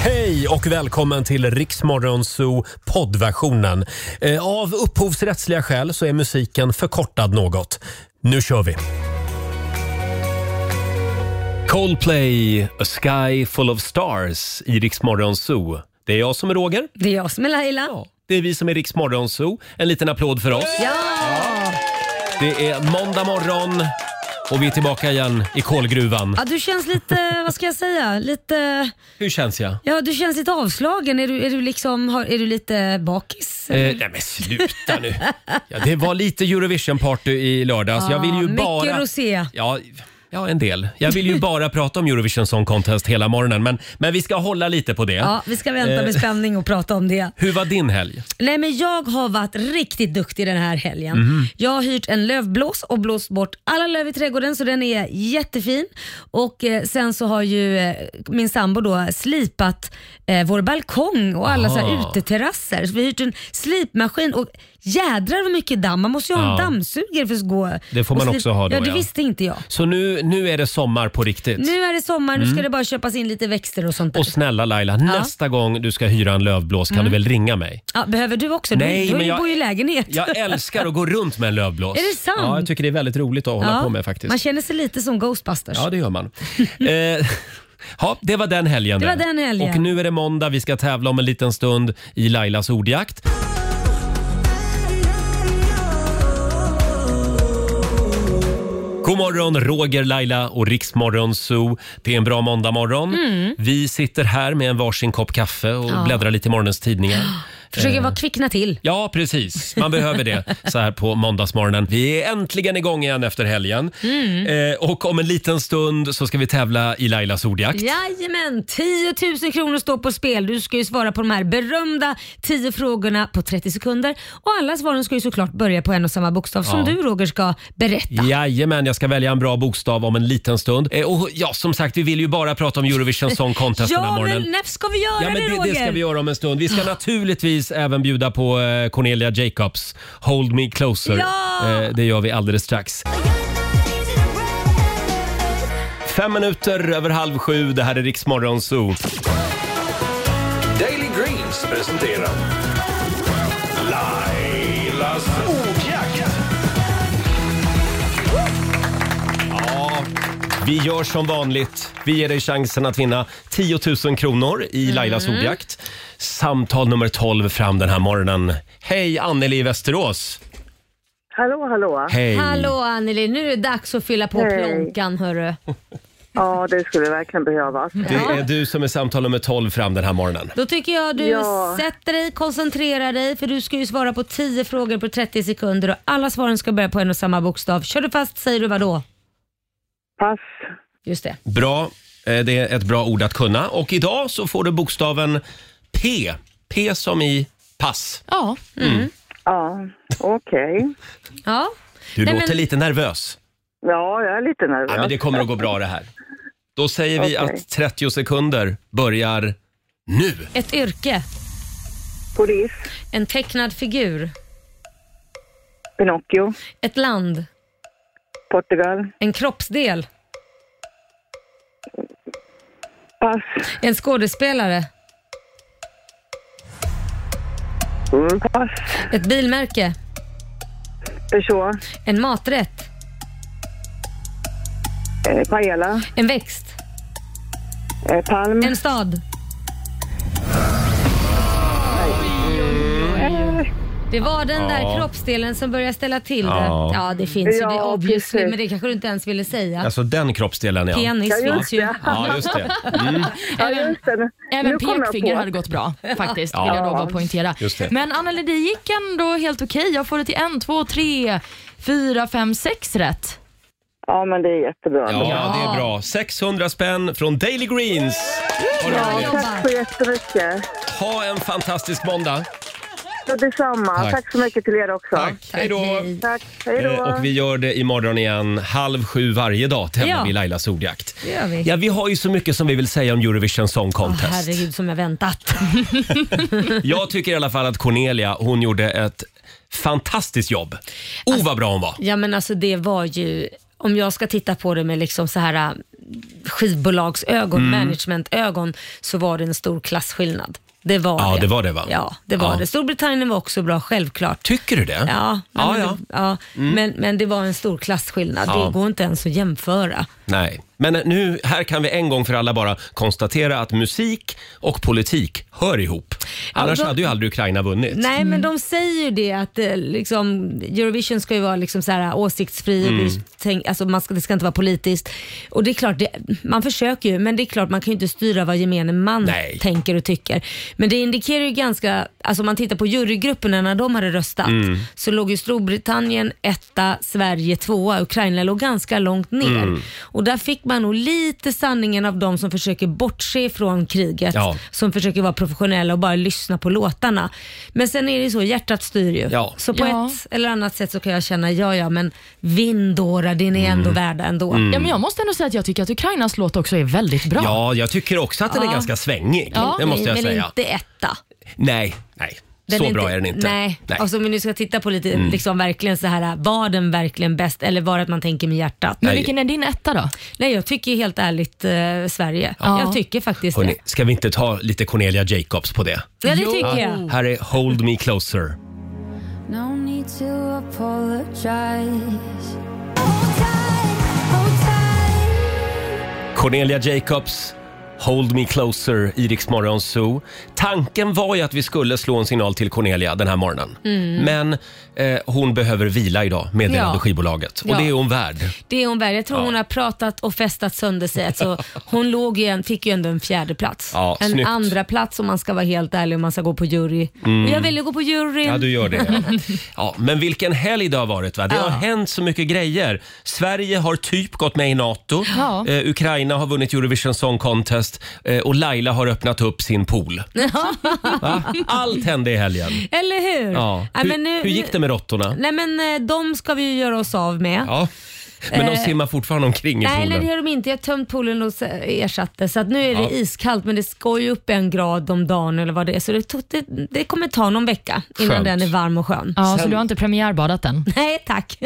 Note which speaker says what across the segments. Speaker 1: Hej och välkommen till Riksmorgonzoo poddversionen. Eh, Av upphovsrättsliga skäl så är musiken förkortad något. Nu kör vi! Coldplay, A Sky Full of Stars i Riksmorgonzoo. Det är jag som är Roger.
Speaker 2: Det är jag som är Laila.
Speaker 1: Det är vi som är Riksmorgonzoo. En liten applåd för oss.
Speaker 2: Ja.
Speaker 1: Det är måndag morgon och vi är tillbaka igen i kolgruvan.
Speaker 2: ja, du känns lite, vad ska jag säga, lite,
Speaker 1: Hur känns jag?
Speaker 2: ja du känns lite avslagen. Är du, är du liksom, har, är du lite bakis?
Speaker 1: Eh, nej men sluta nu. Ja, det var lite Eurovision-party i lördags. jag vill ju
Speaker 2: Ah, mycket
Speaker 1: bara...
Speaker 2: rosé.
Speaker 1: Ja, ja, en del. Jag vill ju bara prata om Eurovision Song Contest hela morgonen. Men, men vi ska hålla lite på det.
Speaker 2: Ja, vi ska vänta med
Speaker 1: Eh,
Speaker 2: spänning och prata om det.
Speaker 1: Hur var din helg?
Speaker 2: Nej men jag har varit riktigt duktig den här helgen.
Speaker 1: Mhm.
Speaker 2: Jag har hyrt en lövblås och blåst bort alla löv i trädgården så den är jättefin. Och eh, sen så har ju eh, min sambo då slipat eh, vår balkong och alla så här
Speaker 1: Aha.
Speaker 2: uteterrasser. Så vi har hyrt en slipmaskin och jädrar vad mycket damm. Man måste ju ha en
Speaker 1: Ja.
Speaker 2: dammsugare för att gå
Speaker 1: Det får
Speaker 2: och
Speaker 1: man
Speaker 2: slip-
Speaker 1: också ha då,
Speaker 2: Ja det
Speaker 1: ja.
Speaker 2: visste inte jag.
Speaker 1: Så nu, nu är det sommar på riktigt.
Speaker 2: Nu är det sommar, nu ska det bara köpas in lite växter och sånt där.
Speaker 1: Mm. Och snälla Laila, nästa gång du ska hyra en lövblås
Speaker 2: Mm.
Speaker 1: kan du väl ringa mig?
Speaker 2: ja, behöver du också? Du-
Speaker 1: Nej,
Speaker 2: du
Speaker 1: men jag-
Speaker 2: bor ju i lägenhet.
Speaker 1: Jag älskar att gå runt med en lövblås.
Speaker 2: Är det sant?
Speaker 1: Ja, jag tycker det är väldigt roligt att hålla
Speaker 2: Ja,
Speaker 1: på med faktiskt.
Speaker 2: Man känner sig lite som Ghostbusters.
Speaker 1: Ja, det gör man. eh, ja, det var den helgen.
Speaker 2: Det var
Speaker 1: det.
Speaker 2: den helgen.
Speaker 1: Och nu är det måndag. Vi ska tävla om en liten stund i Lailas ordjakt. God morgon, Roger, Laila och Riksmorgon Zoo. Det är en bra måndagmorgon.
Speaker 2: Mm.
Speaker 1: Vi sitter här med en varsin kopp kaffe och bläddrar lite i morgonens tidningar. Eh.
Speaker 2: Försöker vara kvickna till.
Speaker 1: Ja, precis. Man behöver det så här på måndagsmorgonen. Vi är äntligen igång igen efter helgen.
Speaker 2: Mm.
Speaker 1: Eh, och om en liten stund så ska vi tävla i Lailas ordjakt.
Speaker 2: Jajamän, 10 000 kronor står på spel. Du ska ju svara på de här berömda 10 frågorna på 30 sekunder. Och alla svaren ska ju såklart börja på en och samma bokstav som
Speaker 1: Ja.
Speaker 2: du Roger ska berätta.
Speaker 1: Jajamän, jag ska välja en bra bokstav om en liten stund. Eh, och ja, som sagt, vi vill ju bara prata om Eurovision Song Contest den här
Speaker 2: Ja,
Speaker 1: morgonen.
Speaker 2: men när ska vi göra
Speaker 1: Ja, men
Speaker 2: det,
Speaker 1: det, Ah.
Speaker 2: Roger?
Speaker 1: det ska vi göra om en stund. Vi ska naturligtvis även bjuda på eh, Cornelia Jacobs Hold Me Closer.
Speaker 2: Ja!
Speaker 1: Eh, det gör vi alldeles strax. Fem minuter över halv sju. Det här är Rix Morgon Zoo.
Speaker 3: Daily Greens presenterar Lailas ordjakt.
Speaker 1: Vi gör som vanligt. Vi ger dig chansen att vinna 10 000 kronor i Lailas ordjakt. Samtal nummer 12 fram den här morgonen. Hej Anneli i Västerås!
Speaker 4: Hallå, hallå.
Speaker 1: Hej!
Speaker 2: Hallå Anneli, nu är det dags att fylla på
Speaker 4: Hej.
Speaker 2: plånkan hörru.
Speaker 4: Ja, det skulle verkligen behövas.
Speaker 2: Mm.
Speaker 1: Det är du som är samtal nummer 12 fram den här morgonen.
Speaker 2: Då tycker jag du
Speaker 4: Ja.
Speaker 2: sätter dig, koncentrerar dig för du ska ju svara på 10 frågor på 30 sekunder och alla svaren ska börja på en och samma bokstav. Kör du fast säger du vad då?
Speaker 4: Pass.
Speaker 2: Just det.
Speaker 1: Bra. Eh, Det är ett bra ord att kunna. Och idag så får du bokstaven P. P som i pass.
Speaker 2: Ja.
Speaker 4: Ja, okej.
Speaker 2: ja.
Speaker 1: Du
Speaker 2: Nej,
Speaker 1: låter
Speaker 2: men-
Speaker 1: lite nervös.
Speaker 4: Ja, jag är lite nervös.
Speaker 1: Nej, men det kommer att gå bra det här. Då säger vi
Speaker 4: Okej.
Speaker 1: att 30 sekunder börjar nu.
Speaker 2: Ett yrke.
Speaker 4: Polis,
Speaker 2: En tecknad figur.
Speaker 4: Pinocchio,
Speaker 2: Ett land.
Speaker 4: Portugal.
Speaker 2: En kroppsdel.
Speaker 4: Pass.
Speaker 2: En skådespelare.
Speaker 4: Mm, Pass.
Speaker 2: Ett bilmärke.
Speaker 4: Peugeot,
Speaker 2: En maträtt.
Speaker 4: eh, Paella,
Speaker 2: En växt.
Speaker 4: eh, Palm.
Speaker 2: En stad.
Speaker 4: Eh,
Speaker 2: Det var den där kroppsdelen som började ställa till det. Ja, det finns ju. Det är
Speaker 4: Ja,
Speaker 2: obviously,
Speaker 4: precis.
Speaker 2: men det kanske du inte ens ville säga.
Speaker 1: Alltså den kroppsdelen ja.
Speaker 2: Penis
Speaker 4: Ja, just
Speaker 2: finns ju.
Speaker 4: det.
Speaker 1: Ja, just det.
Speaker 4: Ja,
Speaker 5: Även,
Speaker 4: just det.
Speaker 5: även
Speaker 4: Nu kommer jag
Speaker 5: pekfinger
Speaker 4: på.
Speaker 5: hade gått bra faktiskt,
Speaker 1: Ja.
Speaker 5: vill jag då bara poängtera.
Speaker 1: Just det.
Speaker 5: Men Anneli, det gick ändå helt okej. Jag får det till en, två, tre, fyra, fem, sex rätt.
Speaker 4: Ja, men det är jättebra.
Speaker 1: Ja, det är bra. 600 spänn från Daily Greens. Har du
Speaker 2: Bra
Speaker 1: vunnit.
Speaker 2: jobbat.
Speaker 4: Tack så jättemycket.
Speaker 1: Ha en fantastisk måndag.
Speaker 4: Så detsamma.
Speaker 1: Tack.
Speaker 4: Tack. så mycket till er också.
Speaker 1: Tack. Hej då.
Speaker 2: hej.
Speaker 4: Tack. Hej då.
Speaker 1: Eh, Och vi gör det imorgon igen. Halv sju varje dag tävlar
Speaker 2: Ja.
Speaker 1: vi Lailas ordjakt.
Speaker 2: Det gör vi.
Speaker 1: Ja, vi har ju så mycket som vi vill säga om Eurovision Song
Speaker 2: Åh,
Speaker 1: Contest.
Speaker 2: herregud som jag väntat.
Speaker 1: jag tycker i alla fall att Cornelia, hon gjorde ett fantastiskt jobb. O, Oh, vad bra hon var!
Speaker 2: Ja men alltså det var ju om jag ska titta på det med liksom så här äh, skivbolagsögon,
Speaker 1: Mm.
Speaker 2: managementögon, så var det en stor klassskillnad. Det var
Speaker 1: Ja,
Speaker 2: det.
Speaker 1: det var det, va?
Speaker 2: Ja, det var
Speaker 1: Ja.
Speaker 2: det. Storbritannien var också bra, självklart.
Speaker 1: Tycker du det?
Speaker 2: Ja,
Speaker 1: ja,
Speaker 2: men,
Speaker 1: ja.
Speaker 2: ja, men, men det var en stor klassskillnad.
Speaker 1: Ja.
Speaker 2: Det går inte ens att jämföra.
Speaker 1: Nej, men eh, nu, här kan vi en gång för alla bara konstatera att musik och politik hör ihop. Annars
Speaker 2: då-
Speaker 1: hade ju aldrig Ukraina vunnit.
Speaker 2: Nej, men de säger ju det att eh, liksom, Eurovision ska ju vara liksom så här, åsiktsfri, och
Speaker 1: Mm.
Speaker 2: du tänk, alltså, man ska, det ska inte vara politiskt. Och det är klart, det, man försöker ju, men det är klart man kan ju inte styra vad gemene man
Speaker 1: Nej.
Speaker 2: tänker och tycker. Men det indikerar ju ganska, alltså om man tittar på jurygrupperna när de hade röstat,
Speaker 1: Mm.
Speaker 2: så låg ju Storbritannien etta, Sverige tvåa, Ukraina låg ganska långt ner.
Speaker 1: Mm.
Speaker 2: Och där fick man nog lite sanningen av de som försöker bortse ifrån kriget
Speaker 1: Ja.
Speaker 2: som försöker vara professionella och bara lyssna på låtarna. Men sen är det ju så, hjärtat styr ju.
Speaker 1: Ja.
Speaker 2: Så på
Speaker 5: Ja.
Speaker 2: ett eller annat sätt så kan jag känna, ja ja men vindårar, det är ni
Speaker 1: Mm.
Speaker 2: ändå värda ändå.
Speaker 5: Ja, men jag måste ändå säga att jag tycker att Ukrainas låt också är väldigt bra.
Speaker 1: Ja, jag tycker också att den är ganska svängig.
Speaker 5: Ja,
Speaker 1: det måste jag
Speaker 2: men
Speaker 1: säga.
Speaker 2: inte etta.
Speaker 1: Nej, nej.
Speaker 2: Den
Speaker 1: så bra är den inte. Mm.
Speaker 2: Nej. Alltså, om vi nu ska titta på lite, liksom verkligen så här, var den verkligen bäst eller var det att man tänker med hjärtat?
Speaker 5: Men
Speaker 1: Nej.
Speaker 5: vilken är din etta då?
Speaker 2: Nej, jag tycker helt ärligt eh, Sverige.
Speaker 5: Ja.
Speaker 2: Jag tycker faktiskt
Speaker 1: Hörrni,
Speaker 2: det.
Speaker 1: ska vi inte ta lite Cornelia Jacobs på det?
Speaker 2: Ja, det tycker jag.
Speaker 1: Här är Hold Me Closer.
Speaker 6: No need to apologize.
Speaker 1: Cornelia Jacobs, Hold Me Closer, i Rix Morgon Zoo. Tanken var ju att vi skulle slå en signal till Cornelia den här morgonen. Men eh, hon behöver vila idag, meddelade
Speaker 2: Mm. Ja.
Speaker 1: skivbolaget. Och
Speaker 2: Ja.
Speaker 1: det är hon värd.
Speaker 2: Det är hon värd. Jag tror hon har pratat och festat sönder sig. Alltså, hon låg ju en, fick ju ändå en fjärde plats.
Speaker 1: Ja,
Speaker 2: en
Speaker 1: snyggt. Mm.
Speaker 2: andra plats om man ska vara helt ärlig om man ska gå på jury. Men Jag ville gå på juryn.
Speaker 1: Ja, du gör det. Ja. Ja, men vilken helg det har varit. Va? Det har hänt så mycket grejer. Sverige har typ gått med i NATO.
Speaker 5: Ja.
Speaker 1: Eh, Ukraina har vunnit Eurovision Song Contest eh, och Laila har öppnat upp sin pool. Va? Allt hände i helgen.
Speaker 2: Eller hur?
Speaker 1: Ja.
Speaker 2: Nej,
Speaker 1: hur,
Speaker 2: men nu,
Speaker 1: hur gick det med råttorna?
Speaker 2: Nej men eh, de ska vi ju göra oss av med.
Speaker 1: Ja. Men de
Speaker 2: Eh,
Speaker 1: simmar fortfarande omkring i
Speaker 2: Nej, nej det
Speaker 1: poolen.
Speaker 2: gör de inte. Jag har tömt poolen och se- ersatte så att nu är det
Speaker 1: Ja.
Speaker 2: iskallt men det ska ju upp en grad om dagen eller vad det är. Så det, tog, det, det kommer ta någon vecka innan
Speaker 1: Skönt.
Speaker 2: den är varm och skön.
Speaker 5: Ja, så du har inte premiärbadat än?
Speaker 2: Nej tack.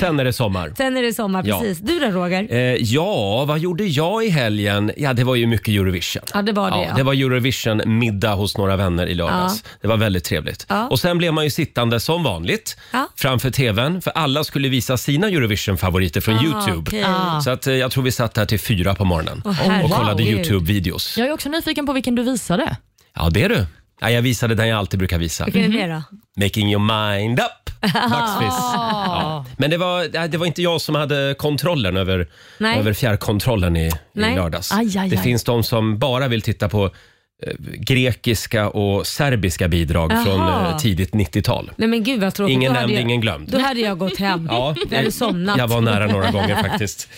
Speaker 1: Sen är det sommar.
Speaker 2: Sen är det sommar
Speaker 1: Ja.
Speaker 2: precis. Du då Roger?
Speaker 1: Eh, ja, vad gjorde jag i helgen? Ja, det var ju mycket Eurovision.
Speaker 2: Ja det var det
Speaker 1: Ja, det var Eurovision-middag hos några vänner i lördags. Det var väldigt trevligt.
Speaker 2: Ja.
Speaker 1: Och sen blev man ju sittande som vanligt
Speaker 2: Ja.
Speaker 1: framför TVn för alla skulle visa sina Eurovision-favoriter från Youtube.
Speaker 2: Ah, okej.
Speaker 5: Ja.
Speaker 1: Så att, eh, jag tror vi satt där till fyra på morgonen
Speaker 2: herregud.
Speaker 1: och kollade Youtube-videos. Ja.
Speaker 5: Jag är också nyfiken på vilken du visade.
Speaker 1: det är du. Ja, jag visade den jag alltid brukar visa.
Speaker 2: Vilken är det då?
Speaker 1: Mhm. Making your mind up. Dagsvis.
Speaker 2: Ah.
Speaker 5: Ja.
Speaker 1: Men det var, nej, det var inte jag som hade kontrollen över,
Speaker 2: Nej.
Speaker 1: över fjärrkontrollen i, i
Speaker 2: Nej.
Speaker 1: lördags.
Speaker 5: Aj, aj,
Speaker 1: Det
Speaker 5: aj.
Speaker 1: finns de som bara vill titta på eh, grekiska och serbiska bidrag
Speaker 2: Jaha.
Speaker 1: från eh, tidigt 90-tal.
Speaker 2: Nej men gud vad tråkigt.
Speaker 1: Ingen
Speaker 2: Då hade
Speaker 1: nämnd,
Speaker 2: jag-
Speaker 1: ingen glömd.
Speaker 2: Då hade jag gått hem.
Speaker 1: Ja,
Speaker 2: jag hade somnat.
Speaker 1: Jag var nära några gånger faktiskt.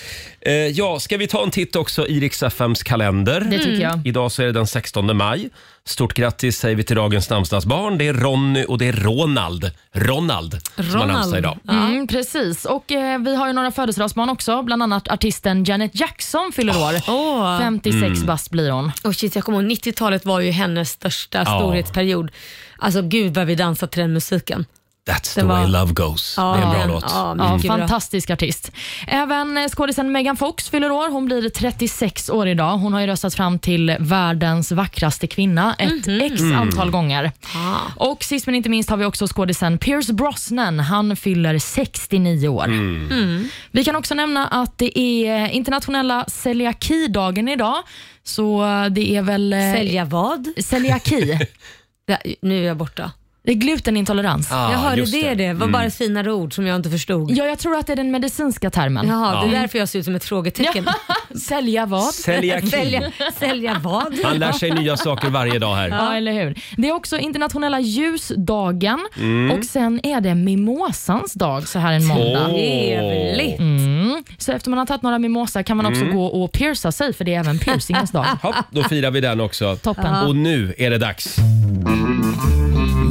Speaker 1: Eh, ja, ska vi ta en titt också i Rix FMs kalender? Mm.
Speaker 5: Det tycker jag.
Speaker 1: Idag så är det den 16 maj. Stort grattis säger vi till dagens namnsdagsbarn. Det är Ronny och det är Ronald. Ronald, som har namnsdag
Speaker 2: Ronald.
Speaker 1: idag.
Speaker 5: Mm, precis, och eh, vi har ju några födelsedagsbarn också. Bland annat artisten Janet Jackson fyller år.
Speaker 2: Åh.
Speaker 5: 56
Speaker 1: Mm.
Speaker 5: bast blir hon.
Speaker 2: Oh shit, jag kommer ihåg 90-talet var ju hennes största storhetsperiod. Alltså gud vad vi dansade till den musiken.
Speaker 1: That's the
Speaker 2: Det var-
Speaker 1: way love goes. det är en bra
Speaker 2: den-
Speaker 1: låt.
Speaker 2: Ja,
Speaker 5: Ja,
Speaker 2: mycket bra.
Speaker 5: fantastisk artist. Även eh, skådisen Megan Fox fyller år. Hon blir 36 år idag. Hon har ju röstats fram till världens vackraste kvinna ett
Speaker 2: Mhm.
Speaker 5: x antal gånger.
Speaker 2: Ah.
Speaker 5: Och sist men inte minst har vi också skådisen Pierce Brosnan. Han fyller 69 år.
Speaker 2: Mm.
Speaker 5: Vi kan också nämna att det är eh, internationella celiakidagen idag. Så eh, det är väl... eh,
Speaker 2: Sälja vad?
Speaker 5: Celiaki.
Speaker 2: Ja, nu är jag borta.
Speaker 5: det är glutenintolerans.
Speaker 1: Ah,
Speaker 2: jag hörde
Speaker 1: just Mm.
Speaker 2: det, det. Det var bara ett finare ord som jag inte förstod.
Speaker 5: Ja, jag tror att det är den medicinska termen.
Speaker 2: Jaha, det
Speaker 1: Ja.
Speaker 2: är därför jag ser ut som ett frågetecken.
Speaker 5: Sälja vad?
Speaker 1: Celiaki.
Speaker 2: Sälja, sälja vad?
Speaker 1: Han lär sig nya saker varje dag här.
Speaker 5: Ja, eller hur. Det är också internationella ljusdagen
Speaker 1: Mm.
Speaker 5: och sen är det mimosans dag så här en måndag.
Speaker 1: Åh.
Speaker 2: Trevligt.
Speaker 1: Mm.
Speaker 5: Så efter man har tagit några mimosa kan man också gå och pierca sig för det är även piercingens dag.
Speaker 1: Hopp, då firar vi den också.
Speaker 5: Toppen.
Speaker 1: Och nu är det dags.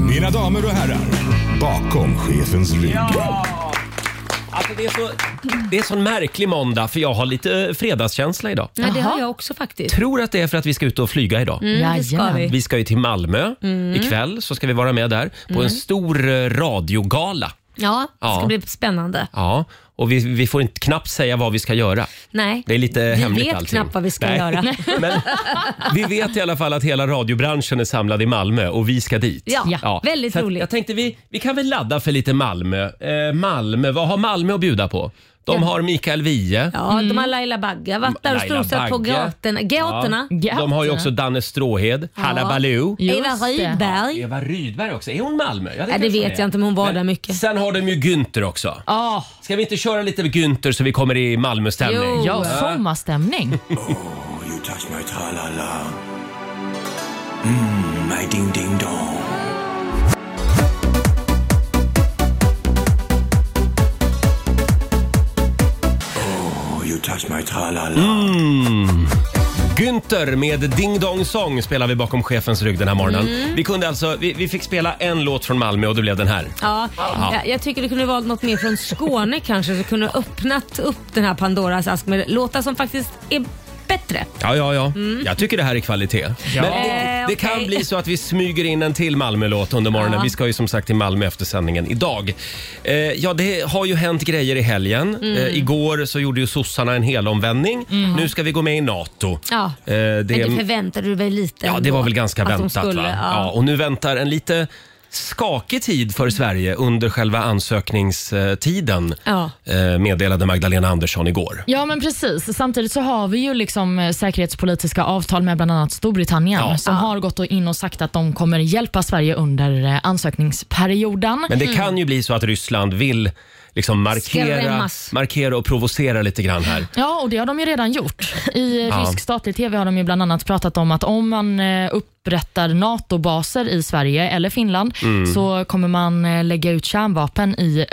Speaker 3: Mina damer och herrar, bakom chefens rygg.
Speaker 1: Alltså, det, är så, det är så en märklig måndag för jag har lite eh, fredagskänsla idag.
Speaker 2: Nej, det har
Speaker 5: Jaha.
Speaker 2: jag också faktiskt.
Speaker 1: Tror att det är för att vi ska ut och flyga idag.
Speaker 2: Mm, det ska
Speaker 5: Jajamän.
Speaker 2: vi. Mm.
Speaker 1: Vi ska ju till Malmö ikväll så ska vi vara med där på en stor eh, radiogala.
Speaker 2: Ja, det ska
Speaker 1: Ja.
Speaker 2: bli spännande.
Speaker 1: Ja, och vi, vi får inte knappt säga vad vi ska göra.
Speaker 2: Nej.
Speaker 1: Det är lite
Speaker 2: vi
Speaker 1: hemligt
Speaker 2: vet
Speaker 1: allting.
Speaker 2: knappt vad vi ska
Speaker 1: Nej.
Speaker 2: göra.
Speaker 1: Men vi vet i alla fall att hela radiobranschen är samlad i Malmö och vi ska dit.
Speaker 2: Ja, väldigt
Speaker 1: Så att
Speaker 2: roligt.
Speaker 1: Jag tänkte vi, vi kan väl ladda för lite Malmö. Eh, Malmö, vad har Malmö att bjuda på? De har Mikael Wiehe.
Speaker 2: Ja, de
Speaker 5: Mm.
Speaker 2: har Laila Bagge varit där och
Speaker 1: Laila
Speaker 2: strosat på
Speaker 1: Bagge.
Speaker 2: gatorna. gatorna.
Speaker 1: Ja. De har ju också Danne Stråhed, Hallabaloo.
Speaker 2: Eva
Speaker 5: Just det.
Speaker 2: Rydberg.
Speaker 1: Eva Rydberg också, är hon Malmö? Ja,
Speaker 2: Ja, det
Speaker 1: kanske
Speaker 2: vet
Speaker 1: hon är.
Speaker 2: jag inte, men hon var där mycket.
Speaker 1: Sen har de ju Günther också.
Speaker 5: Ja,
Speaker 1: Ska vi inte köra lite med Günther så vi kommer i Malmö-stämning?
Speaker 2: Jo.
Speaker 5: ja
Speaker 2: Ja.
Speaker 5: sommarstämning.
Speaker 7: You touch my tra-la-la. Mmm, my ding-ding-dong. Oh, you touch my tra-la-la.
Speaker 3: Mm.
Speaker 1: Günther med Ding Dong Song spelar vi bakom chefens rygg den här morgonen.
Speaker 2: Mm.
Speaker 1: Vi, kunde alltså, vi, vi fick spela en låt från Malmö och det blev den här.
Speaker 2: Ja, jag, jag tycker du kunde valt något mer från Skåne kanske, så kunde du öppnat upp den här Pandoras ask med låtar som faktiskt är bättre.
Speaker 1: Ja, ja, ja. Mm. Jag tycker det här är kvalitet. Men det,
Speaker 2: Eh,
Speaker 1: det kan
Speaker 2: okej.
Speaker 1: bli så att vi smyger in en till Malmö-låt under morgonen.
Speaker 2: Ja.
Speaker 1: Vi ska ju som sagt till Malmö efter sändningen idag. Eh, ja, det har ju hänt grejer i helgen.
Speaker 2: Mm.
Speaker 1: Eh, igår så gjorde ju sossarna en helomvändning. Nu ska vi gå med i NATO.
Speaker 2: Ja.
Speaker 1: Eh, det,
Speaker 2: Men det förväntade du väl lite
Speaker 1: Ja, det
Speaker 2: ändå,
Speaker 1: var väl ganska
Speaker 2: att de
Speaker 1: väntat.
Speaker 2: skulle,
Speaker 1: va?
Speaker 2: Ja.
Speaker 1: Ja, och nu väntar en lite skakig tid för Sverige under själva ansökningstiden,
Speaker 2: Ja.
Speaker 1: eh, meddelade Magdalena Andersson igår.
Speaker 5: Ja, men precis. Samtidigt så har vi ju liksom eh, säkerhetspolitiska avtal med bland annat Storbritannien
Speaker 1: Ja.
Speaker 5: som har gått in och sagt att de kommer hjälpa Sverige under eh, ansökningsperioden.
Speaker 1: Men det kan ju bli så att Ryssland vill liksom markera,
Speaker 2: Mm. Skrämmas.
Speaker 1: markera och provocera lite grann här.
Speaker 5: Ja, och det har de ju redan gjort. I rysk statlig TV har de ju bland annat pratat om att om man eh, upprättar NATO-baser i Sverige eller Finland
Speaker 1: Mm.
Speaker 5: så kommer man eh, lägga ut kärnvapen i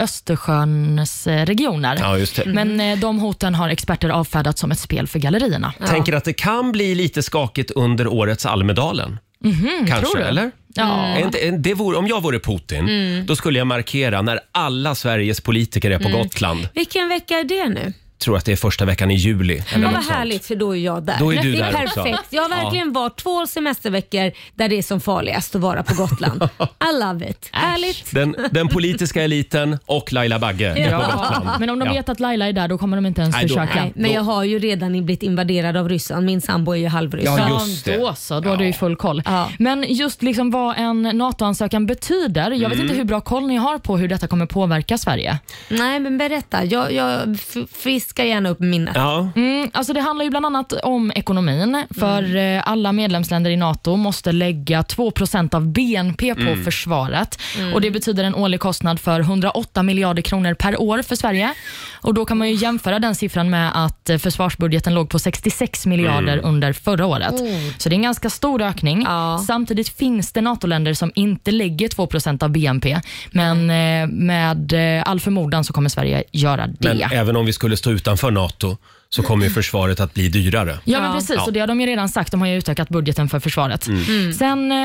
Speaker 5: Östersjöns eh, regioner.
Speaker 1: Ja, just det. Mm.
Speaker 5: Men eh, de hoten har experter avfärdat som ett spel för gallerierna.
Speaker 1: Tänker att det kan bli lite skakigt under årets Almedalen.
Speaker 2: Mhm,
Speaker 1: Kanske,
Speaker 5: tror du?
Speaker 1: eller?
Speaker 5: Ja.
Speaker 1: Är inte- är- Det vore, om jag vore Putin,
Speaker 2: Mm.
Speaker 1: då skulle jag markera när alla Sveriges politiker är på Gotland.
Speaker 2: Vilken vecka är det nu?
Speaker 1: Tror att det är första veckan i juli. Eller
Speaker 2: Ja,
Speaker 1: något
Speaker 2: vad
Speaker 1: sånt.
Speaker 2: härligt för då är jag där.
Speaker 1: Då är du
Speaker 2: det är
Speaker 1: där också.
Speaker 2: perfekt. Jag har verkligen varit två semesterveckor där det är som farligast att vara på Gotland. I love it. Ärligt.
Speaker 1: Den, den politiska eliten och Laila Bagge är på Gotland.
Speaker 5: Men om de
Speaker 1: Ja.
Speaker 5: vet att Laila är där, då kommer de inte ens
Speaker 1: Nej, då-
Speaker 5: försöka.
Speaker 2: Nej, men jag har ju redan blivit invaderad av Ryssland. Min sambo är ju halvryss.
Speaker 1: Ja,
Speaker 5: Ja,
Speaker 1: just det.
Speaker 5: Då så, då har du ju full koll.
Speaker 2: Ja.
Speaker 5: Men just liksom vad en NATO-ansökan betyder. Jag
Speaker 1: Mm.
Speaker 5: vet inte hur bra koll ni har på hur detta kommer påverka Sverige.
Speaker 2: Nej, men berätta. Jag, jag f- friskar gärna upp minnet.
Speaker 1: Ja,
Speaker 5: Mm, alltså det handlar ju bland annat om ekonomin. För eh, alla medlemsländer i NATO måste lägga 2 av BNP på försvaret. Och Det betyder en årlig kostnad för 108 miljarder kronor per år för Sverige. Och Då kan man ju jämföra den siffran med att eh, försvarsbudgeten låg på 66 miljarder under förra året. Så det är en ganska stor ökning.
Speaker 2: Ja.
Speaker 5: Samtidigt finns det NATO-länder som inte lägger 2 av BNP. Men eh, med eh, all förmodan så kommer Sverige göra det.
Speaker 1: men även om vi skulle stå utanför NATO så kommer
Speaker 2: Mm.
Speaker 1: ju försvaret att bli dyrare.
Speaker 5: Ja, men precis. Och det har de ju redan sagt. De har ju utökat budgeten för försvaret. Sen eh,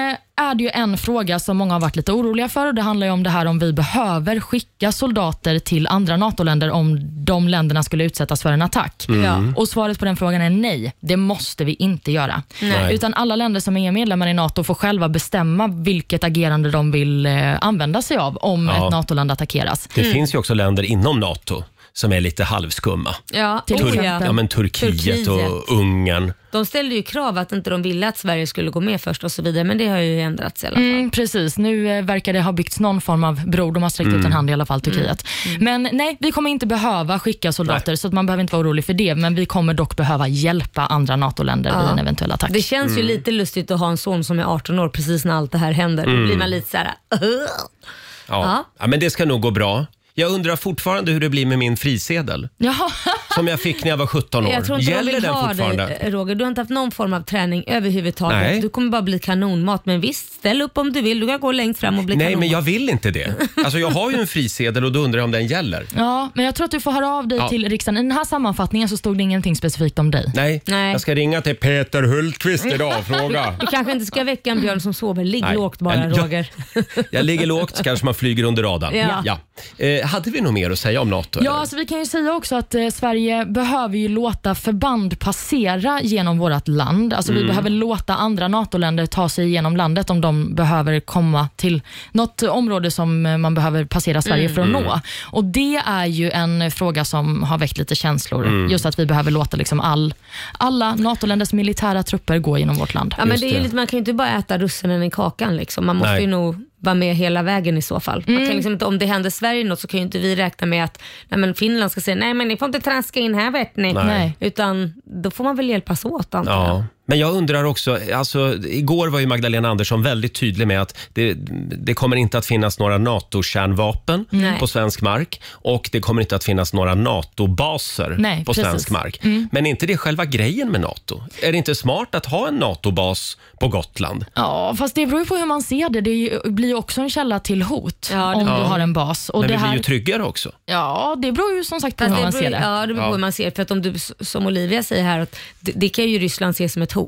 Speaker 5: är det ju en fråga som många har varit lite oroliga för. Och det handlar ju om det här om vi behöver skicka soldater till andra NATO-länder om de länderna skulle utsättas för en attack.
Speaker 2: Ja.
Speaker 5: Och Svaret på den frågan är nej. Det måste vi inte göra.
Speaker 1: Nej.
Speaker 5: Utan alla länder som är medlemmar i NATO får själva bestämma vilket agerande de vill eh, använda sig av om
Speaker 1: Ja.
Speaker 5: ett NATO-land attackeras.
Speaker 1: Det
Speaker 2: Mm.
Speaker 1: finns ju också länder inom NATO som är lite halvskumma.
Speaker 2: Ja,
Speaker 5: Till
Speaker 2: oh
Speaker 1: Tur-
Speaker 5: exempel.
Speaker 1: ja, men Turkiet,
Speaker 2: Turkiet.
Speaker 1: och Ungern.
Speaker 2: De ställde ju krav att inte de ville att Sverige skulle gå med först och så vidare, men det har ju ändrats i alla fall.
Speaker 5: Mm, precis, nu eh, verkar det ha byggts någon form av bro. De har sträckt ut en hand i alla fall, Turkiet. Men nej, vi kommer inte behöva skicka soldater, så att man behöver inte vara orolig för det. Men vi kommer dock behöva hjälpa andra NATO-länder vid en eventuell attack.
Speaker 2: Det känns
Speaker 1: Mm.
Speaker 2: ju lite lustigt att ha en son som är 18 år precis när allt det här händer. Då
Speaker 1: Mm.
Speaker 2: blir man lite så här. "Ugh."
Speaker 1: Ja.
Speaker 2: Ja.
Speaker 1: Ja, men det ska nog gå bra. Jag undrar fortfarande hur det blir med min frisedel
Speaker 5: Jaha.
Speaker 1: som jag fick när jag var 17 år.
Speaker 2: Jag tror inte de
Speaker 1: Gäller
Speaker 2: vill
Speaker 1: den
Speaker 2: ha
Speaker 1: fortfarande?
Speaker 2: dig eh, Roger. Du har inte haft någon form av träning överhuvudtaget.
Speaker 1: Nej.
Speaker 2: Du kommer bara bli kanonmat. Men visst, ställ upp om du vill. Du kan gå längst fram och bli
Speaker 1: Nej,
Speaker 2: kanonmat.
Speaker 1: men jag vill inte det. Alltså, jag har ju en frisedel och då undrar jag om den gäller.
Speaker 5: Ja, men jag tror att du får höra av dig
Speaker 1: Ja.
Speaker 5: till riksdagen. I den här sammanfattningen så stod det ingenting specifikt om dig.
Speaker 1: Nej,
Speaker 2: Nej.
Speaker 1: jag ska ringa till Peter Hultqvist idag och fråga.
Speaker 2: Du kanske inte ska väcka en björn som sover. Ligg
Speaker 1: Nej.
Speaker 2: lågt bara
Speaker 1: Jag- jag-
Speaker 2: Roger.
Speaker 1: Jag ligger lågt, så kanske man flyger under radarn.
Speaker 2: Ja.
Speaker 1: Eh, hade vi något mer att säga om NATO?
Speaker 5: Ja,
Speaker 1: eller?
Speaker 5: alltså vi kan ju säga också att eh, Sverige Sverige behöver ju låta förband passera genom vårt land. Alltså
Speaker 1: Mm.
Speaker 5: Vi behöver låta andra NATO-länder ta sig igenom landet om de behöver komma till något område som eh, man behöver passera Sverige
Speaker 1: Mm.
Speaker 5: för att nå. Och Det är ju en fråga som har väckt lite känslor.
Speaker 1: Mm.
Speaker 5: Just att vi behöver låta liksom all, alla NATO-länders militära trupper gå genom vårt land.
Speaker 2: Ja, men
Speaker 1: Just
Speaker 2: det är ju
Speaker 1: det.
Speaker 2: lite, man kan ju inte bara äta russinen i kakan. Liksom. Man måste
Speaker 1: Nej.
Speaker 2: ju nog vara med hela vägen i så fall. Man kan liksom inte, om det händer Sverige något så kan ju inte vi räkna med att nej, men Finland ska säga nej men ni får inte traska in här vet ni.
Speaker 1: Nej.
Speaker 5: Nej.
Speaker 2: Utan då får man väl hjälpas åt antar jag.
Speaker 1: Ja. Men jag undrar också, alltså, igår var ju Magdalena Andersson väldigt tydlig med att det, det kommer inte att finnas några NATO-kärnvapen
Speaker 2: Nej.
Speaker 1: på svensk mark och det kommer inte att finnas några NATO-baser
Speaker 5: Nej,
Speaker 1: på
Speaker 5: precis.
Speaker 1: svensk mark. Men är inte det själva grejen med NATO? Är det inte smart att ha en NATO-bas på Gotland?
Speaker 5: Ja, fast det beror ju på hur man ser det. Det är ju- blir ju också en källa till hot
Speaker 2: Ja, det-
Speaker 5: om
Speaker 1: Ja.
Speaker 5: du har en bas. Och
Speaker 1: Men
Speaker 5: det
Speaker 1: vi blir
Speaker 5: här,
Speaker 1: ju tryggare också.
Speaker 5: ja, det beror ju som sagt på
Speaker 2: Fast
Speaker 5: hur man
Speaker 2: det beror,
Speaker 5: ser det.
Speaker 2: Ja, det beror på
Speaker 1: Ja.
Speaker 2: hur man ser det. För att om du, s- som Olivia säger här, att det, det kan ju Ryssland se som ett hot.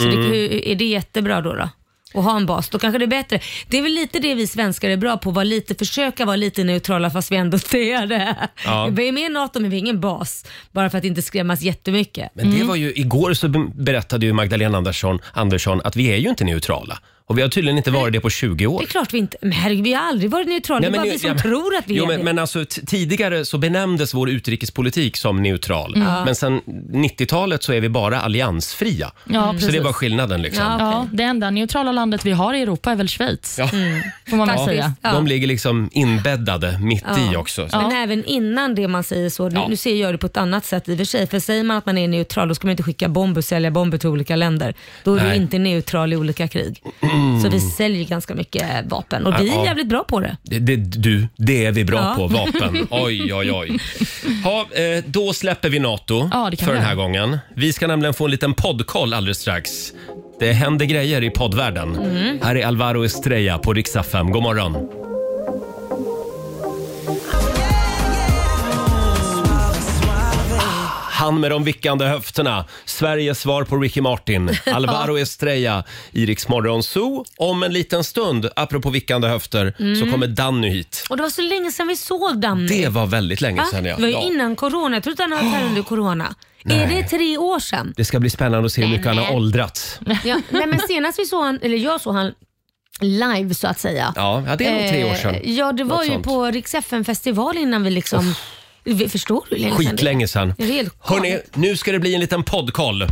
Speaker 2: Så det,
Speaker 1: Mm.
Speaker 2: hur, är det jättebra då? då? Att ha en bas, då kanske det är bättre. Det är väl lite det vi svenskar är bra på, var lite, försöka vara lite neutrala fast vi ändå inte är det.
Speaker 1: Ja.
Speaker 2: Vi är med i NATO men vi är ingen bas, bara för att inte skrämmas jättemycket.
Speaker 1: Men det var ju, igår så be- berättade ju Magdalena Andersson, Andersson att vi är ju inte neutrala. Och vi har tydligen inte varit det på 20 år.
Speaker 2: Det är klart vi inte, men herregud, vi har aldrig varit neutrala, det är bara
Speaker 1: nu-
Speaker 2: vi som
Speaker 1: ja, men-
Speaker 2: tror att vi
Speaker 1: jo,
Speaker 2: är
Speaker 1: men,
Speaker 2: det.
Speaker 1: men alltså, t- Tidigare så benämndes vår utrikespolitik som neutral.
Speaker 2: Mm.
Speaker 1: Men sen 90-talet så är vi bara alliansfria.
Speaker 5: Ja,
Speaker 1: så
Speaker 5: precis.
Speaker 1: det var skillnaden. Liksom.
Speaker 2: Ja.
Speaker 5: Ja, det enda neutrala landet vi har i Europa är väl Schweiz, får man väl
Speaker 2: Faktiskt.
Speaker 5: säga.
Speaker 2: Mm, Ja.
Speaker 1: De ligger liksom inbäddade mitt i också. Så-
Speaker 2: Men även innan det man säger så, nu, nu ser jag det på ett annat sätt i och för sig, för säger man att man är neutral då ska man inte skicka bomber och sälja bomber till olika länder. Då är
Speaker 1: Nej.
Speaker 2: du inte neutral i olika krig. Så vi säljer ganska mycket vapen och vi
Speaker 1: Ja.
Speaker 2: är jävligt bra på det.
Speaker 1: Det, det, du, det är vi bra
Speaker 2: Ja.
Speaker 1: på. Vapen. Oj, oj, oj. Ha, eh, då släpper vi NATO
Speaker 5: Ja, det kan
Speaker 1: för
Speaker 5: vi
Speaker 1: den här
Speaker 5: göra.
Speaker 1: gången. Vi ska nämligen få en liten poddkoll alldeles strax. Det händer grejer i poddvärlden. Här är Alvaro Estrella på Rix FM. God morgon. Han med de vickande höfterna. Sveriges svar på Ricky Martin. Alvaro Estrella i Rix Morgon Zoo. Om en liten stund, apropå vickande höfter, så kommer Danny hit.
Speaker 2: Och det var så länge sedan vi såg Danny.
Speaker 1: Det var väldigt länge
Speaker 2: Va?
Speaker 1: sedan. Ja.
Speaker 2: Det var ju
Speaker 1: Ja.
Speaker 2: innan corona, jag trodde han hade varit här under corona. Är det tre år sedan?
Speaker 1: Det ska bli spännande att se hur mycket han har
Speaker 2: Nej.
Speaker 1: åldrats.
Speaker 2: Ja. Nej, men senast vi såg han, eller jag såg han live så att säga.
Speaker 1: Ja, ja, det är nog tre år
Speaker 2: Eh,
Speaker 1: sedan.
Speaker 2: Ja, det var
Speaker 1: Något
Speaker 2: ju
Speaker 1: sånt.
Speaker 2: på Rix festival innan vi liksom... Vi förstår du hur länge sedan det är?
Speaker 1: Skitlänge sedan.
Speaker 2: Det är helt
Speaker 1: Hörni,
Speaker 2: galet.
Speaker 1: nu ska det bli en liten poddkoll.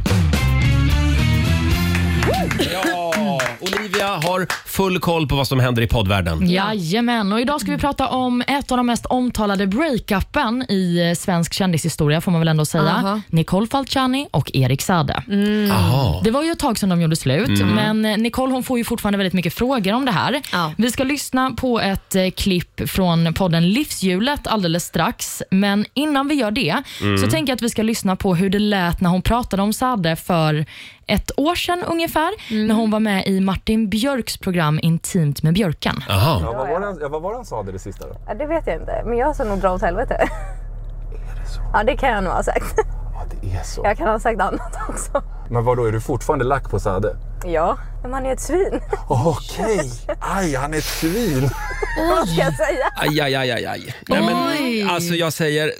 Speaker 1: Ja, Olivia har full koll på vad som händer i poddvärlden.
Speaker 5: Jajamän, och idag ska vi prata om ett av de mest omtalade breakupen i eh, svensk kändishistoria får man väl ändå säga.
Speaker 2: Aha.
Speaker 5: Nicole Falciani och Erik Sade.
Speaker 2: Mm.
Speaker 1: Jaha.
Speaker 5: Det var ju ett tag sedan de gjorde slut, men eh, Nicole hon får ju fortfarande väldigt mycket frågor om det här.
Speaker 2: Ja.
Speaker 5: Vi ska lyssna på ett eh, klipp från podden Livshjulet alldeles strax, men innan vi gör det så tänker jag att vi ska lyssna på hur det lät när hon pratade om Sade för ett år sedan ungefär, när hon var med i Martin Björks program Intimt med Björken.
Speaker 1: Aha.
Speaker 8: Vad var det han- ja, vad var det han sa det, det sista då?
Speaker 9: Ja, det vet jag inte, men jag ska nog dra åt helvete. Är det så? Ja, det kan jag nog ha sagt.
Speaker 8: Ja, det är så.
Speaker 9: Jag kan ha sagt annat också.
Speaker 8: Men vad då är du fortfarande lack på Sade?
Speaker 9: Ja, men man är ett svin.
Speaker 8: Okej! Aj, han är ett svin!
Speaker 9: Vad ska jag säga?
Speaker 1: Aj, aj, aj, aj, aj. Nej, men, alltså jag säger,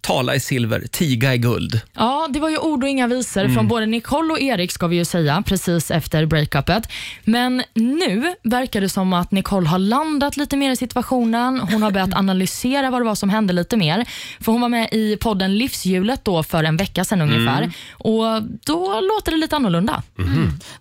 Speaker 1: tala i silver, tiga i guld.
Speaker 5: Ja, det var ju ord och inga visor
Speaker 2: Mm.
Speaker 5: från både Nicole och Erik ska vi ju säga precis efter breakupet. Men nu verkar det som att Nicole har landat lite mer i situationen. Hon har börjat analysera vad det var som hände lite mer. För hon var med i podden Livshjulet då för en vecka sedan
Speaker 2: Mm.
Speaker 5: ungefär och då låter det lite annorlunda.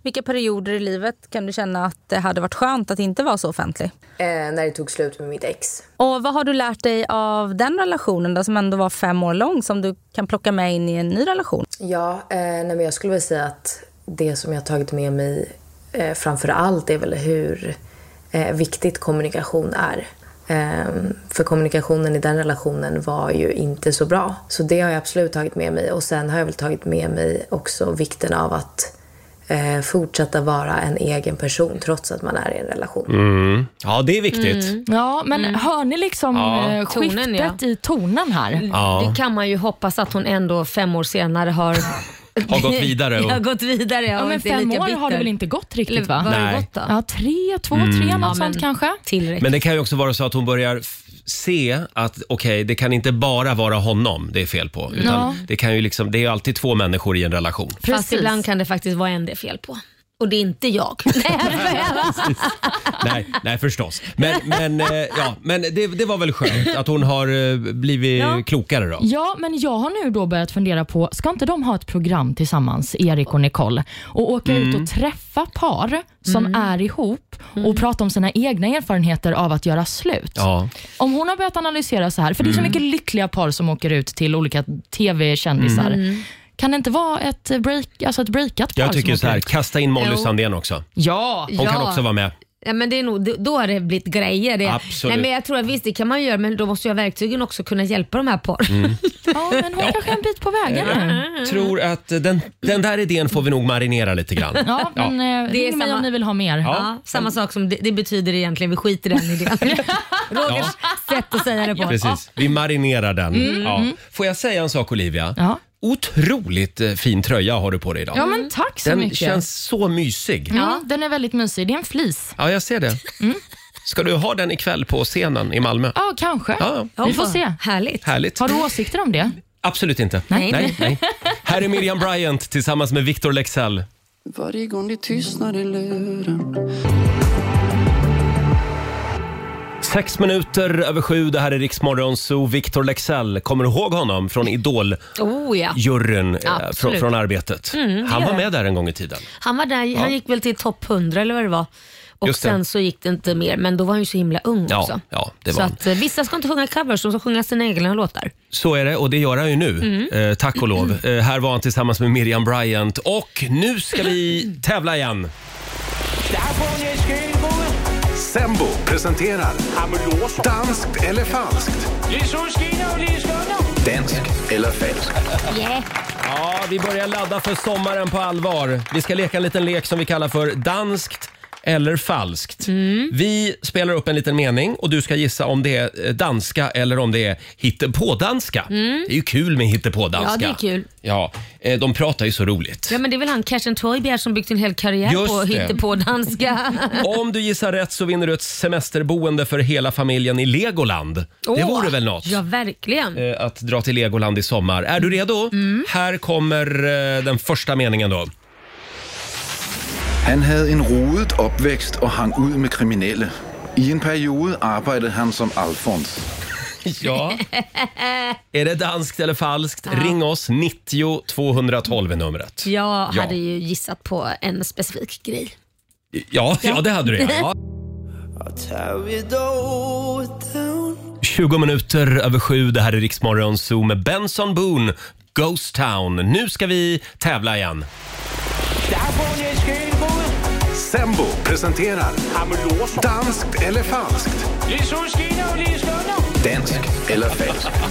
Speaker 9: Vilka perioder i livet kan du känna att det hade varit skönt att inte vara så offentlig?
Speaker 10: Eh, när det tog slut med mitt ex.
Speaker 9: Och vad har du lärt dig av den relationen då, som ändå var fem år lång som du kan plocka med in i en ny relation?
Speaker 10: Ja, eh, nej, men jag skulle väl säga att det som jag tagit med mig eh, framför allt är väl hur eh, viktigt kommunikation är. Ehm, för kommunikationen i den relationen var ju inte så bra. Så det har jag absolut tagit med mig. Och sen har jag väl tagit med mig också vikten av att eh, fortsätta vara en egen person trots att man är i en relation.
Speaker 1: Ja, det är viktigt.
Speaker 2: Mm.
Speaker 5: Ja, men hör ni liksom eh, skiftet
Speaker 2: Tonen, ja.
Speaker 5: i tonen här?
Speaker 1: Ja.
Speaker 2: Det kan man ju hoppas att hon ändå fem år senare har...
Speaker 1: Har gått vidare och-
Speaker 2: ja, gått vidare
Speaker 5: Ja,
Speaker 2: och
Speaker 5: men
Speaker 2: inte är
Speaker 5: fem
Speaker 2: lika
Speaker 5: år har det
Speaker 2: bitter.
Speaker 5: väl inte gått
Speaker 2: Eller
Speaker 5: riktigt
Speaker 2: vad
Speaker 5: va?
Speaker 2: har
Speaker 1: Nej.
Speaker 2: det gått då? Mm.
Speaker 5: Ja, tre, två, tre, något sånt kanske.
Speaker 2: Tillräckligt.
Speaker 1: Men det kan ju också vara så att hon börjar f- se att okej, det kan inte bara vara honom det är fel på. Utan
Speaker 2: Ja.
Speaker 1: det, kan ju liksom, det är ju alltid två människor i en relation.
Speaker 2: Fast ibland kan det faktiskt vara en det är fel på. Och det är inte jag.
Speaker 1: Nej, nej förstås. Men, men, eh, ja, men det, det var väl skönt att hon har eh, blivit
Speaker 5: Ja.
Speaker 1: klokare då.
Speaker 5: Ja, men jag har nu då börjat fundera på, ska inte de ha ett program tillsammans, Erik och Nicole, och åka
Speaker 1: Mm.
Speaker 5: ut och träffa par som
Speaker 1: Mm.
Speaker 5: är ihop och prata om sina egna erfarenheter av att göra slut?
Speaker 1: Ja.
Speaker 5: Om hon har börjat analysera så här, för det är så
Speaker 1: Mm.
Speaker 5: mycket lyckliga par som åker ut till olika TV-kändisar.
Speaker 1: Mm.
Speaker 5: Kan det inte vara ett, break, alltså ett breakat par
Speaker 1: Jag tycker
Speaker 5: som
Speaker 1: så här,
Speaker 5: åker ut?
Speaker 1: kasta in Molly
Speaker 2: Jo.
Speaker 1: Sandén också.
Speaker 5: Ja!
Speaker 1: Hon kan
Speaker 2: Ja.
Speaker 1: också vara med.
Speaker 2: Ja, men det är nog, då har det blivit grejer. Det.
Speaker 1: Absolut.
Speaker 2: Nej, men jag tror att visst, det kan man göra, men då måste jag verktygen också kunna hjälpa de här par.
Speaker 1: Mm.
Speaker 5: Ja, men hon kanske är en bit på vägen nu.
Speaker 1: Jag tror att eh, den, den där idén får vi nog marinera lite grann.
Speaker 5: Ja, men eh,
Speaker 2: Det är
Speaker 5: ring mig
Speaker 2: samma-
Speaker 5: om ni vill ha mer.
Speaker 1: Ja.
Speaker 2: samma sak som det, det betyder egentligen, vi skiter i den idén. Rogers sätt att säga det på.
Speaker 1: Precis. Vi marinerar den.
Speaker 2: Mm.
Speaker 1: Ja.
Speaker 2: Mm.
Speaker 1: Får jag säga en sak Olivia?
Speaker 5: Ja.
Speaker 1: Otroligt eh, fin tröja har du på dig idag.
Speaker 5: Ja, men tack så
Speaker 1: den
Speaker 5: mycket.
Speaker 1: känns så mysig.
Speaker 5: Mm, Den är väldigt mysig. Det är en flis.
Speaker 1: Ja, jag ser det. Ska du ha den ikväll på scenen i Malmö?
Speaker 5: Mm. Ja, kanske.
Speaker 1: Ja.
Speaker 5: Vi får se.
Speaker 2: Härligt.
Speaker 1: Härligt.
Speaker 5: Har du åsikter om det?
Speaker 1: Absolut inte.
Speaker 5: Nej.
Speaker 1: Nej, nej. Här är Miriam Bryant tillsammans med Victor Lexell.
Speaker 11: Varje gång det tystnar i luren
Speaker 1: Sex minuter över sju, det här är Riksmorgon Zoo. Victor Lexell, kommer du ihåg honom från
Speaker 2: Oh ja.
Speaker 1: Idol-juryn eh, från,
Speaker 2: Absolut.
Speaker 1: från Arbetet?
Speaker 2: Mm, det
Speaker 1: Han
Speaker 2: gör
Speaker 1: var
Speaker 2: jag.
Speaker 1: med där en gång i tiden.
Speaker 2: Han var där,
Speaker 1: Ja.
Speaker 2: han gick väl till topp 100 eller vad det var. Och
Speaker 1: Just det.
Speaker 2: sen så gick det inte mer, men då var han ju så himla ung
Speaker 1: Ja,
Speaker 2: också.
Speaker 1: ja, det var
Speaker 2: så
Speaker 1: han.
Speaker 2: att, eh, vissa ska inte sjunga covers, de ska sjunga sina egna låtar.
Speaker 1: Så är det och det gör han ju nu,
Speaker 2: Mm.
Speaker 1: eh, tack och lov. Eh, här var han tillsammans med Miriam Bryant och nu ska vi tävla igen.
Speaker 3: Sembo presenterar Danskt eller falskt? Danskt eller falskt?
Speaker 1: Ja, vi börjar ladda för sommaren på allvar. Vi ska leka en liten lek som vi kallar för danskt eller falskt.
Speaker 2: Mm.
Speaker 1: Vi spelar upp en liten mening och du ska gissa om det är eh, danska eller om det är hittepådanska.
Speaker 2: Mm.
Speaker 1: Det är ju kul med hittepådanska.
Speaker 2: Ja, det är kul.
Speaker 1: Ja, eh, de pratar ju så roligt.
Speaker 2: Ja, men det är väl han Kersten Toibjer som byggt en hel karriär
Speaker 1: Just
Speaker 2: på
Speaker 1: det.
Speaker 2: hittepådanska.
Speaker 1: Om du gissar rätt så vinner du ett semesterboende för hela familjen i Legoland. Det
Speaker 2: Åh,
Speaker 1: vore väl något?
Speaker 2: Ja, verkligen.
Speaker 1: eh, Att dra till Legoland i sommar. Är du redo?
Speaker 2: Mm.
Speaker 1: Här kommer eh, den första meningen då.
Speaker 12: Han havde en rodet opvækst og hang ud med kriminelle. I en periode arbejdede han som Alfons.
Speaker 1: Ja. Är det danskt eller falskt?
Speaker 2: Ja.
Speaker 1: Ring oss, 90 212 är numret.
Speaker 2: Jag
Speaker 1: Ja.
Speaker 2: hade ju gissat på en specifik grej.
Speaker 1: Ja, ja. det hade du ja. 20 minuter över sju, det här är Riksmorgon Zoo med Benson Boone, Ghost Town. Nu ska vi tävla igen.
Speaker 3: Sembo presenterar Danskt eller falskt? Danskt eller falskt?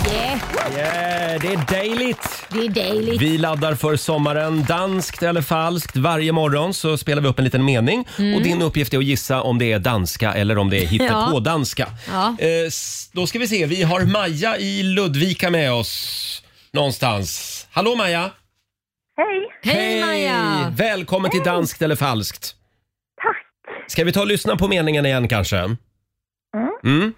Speaker 1: Yeah, det är dejligt.
Speaker 2: Det är dejligt.
Speaker 1: Vi laddar för sommaren, danskt eller falskt. Varje morgon så spelar vi upp en liten mening
Speaker 2: Mm.
Speaker 1: och din uppgift är att gissa om det är danska eller om det är hittepådanska.
Speaker 2: Ja.
Speaker 1: Eh, s- då ska vi se, vi har Maja i Ludvika med oss någonstans. Hallå Maja!
Speaker 13: Hej!
Speaker 1: Hej. Välkommen till danskt eller falskt. Tack! Ska vi ta och lyssna på meningen igen kanske?
Speaker 12: Mm.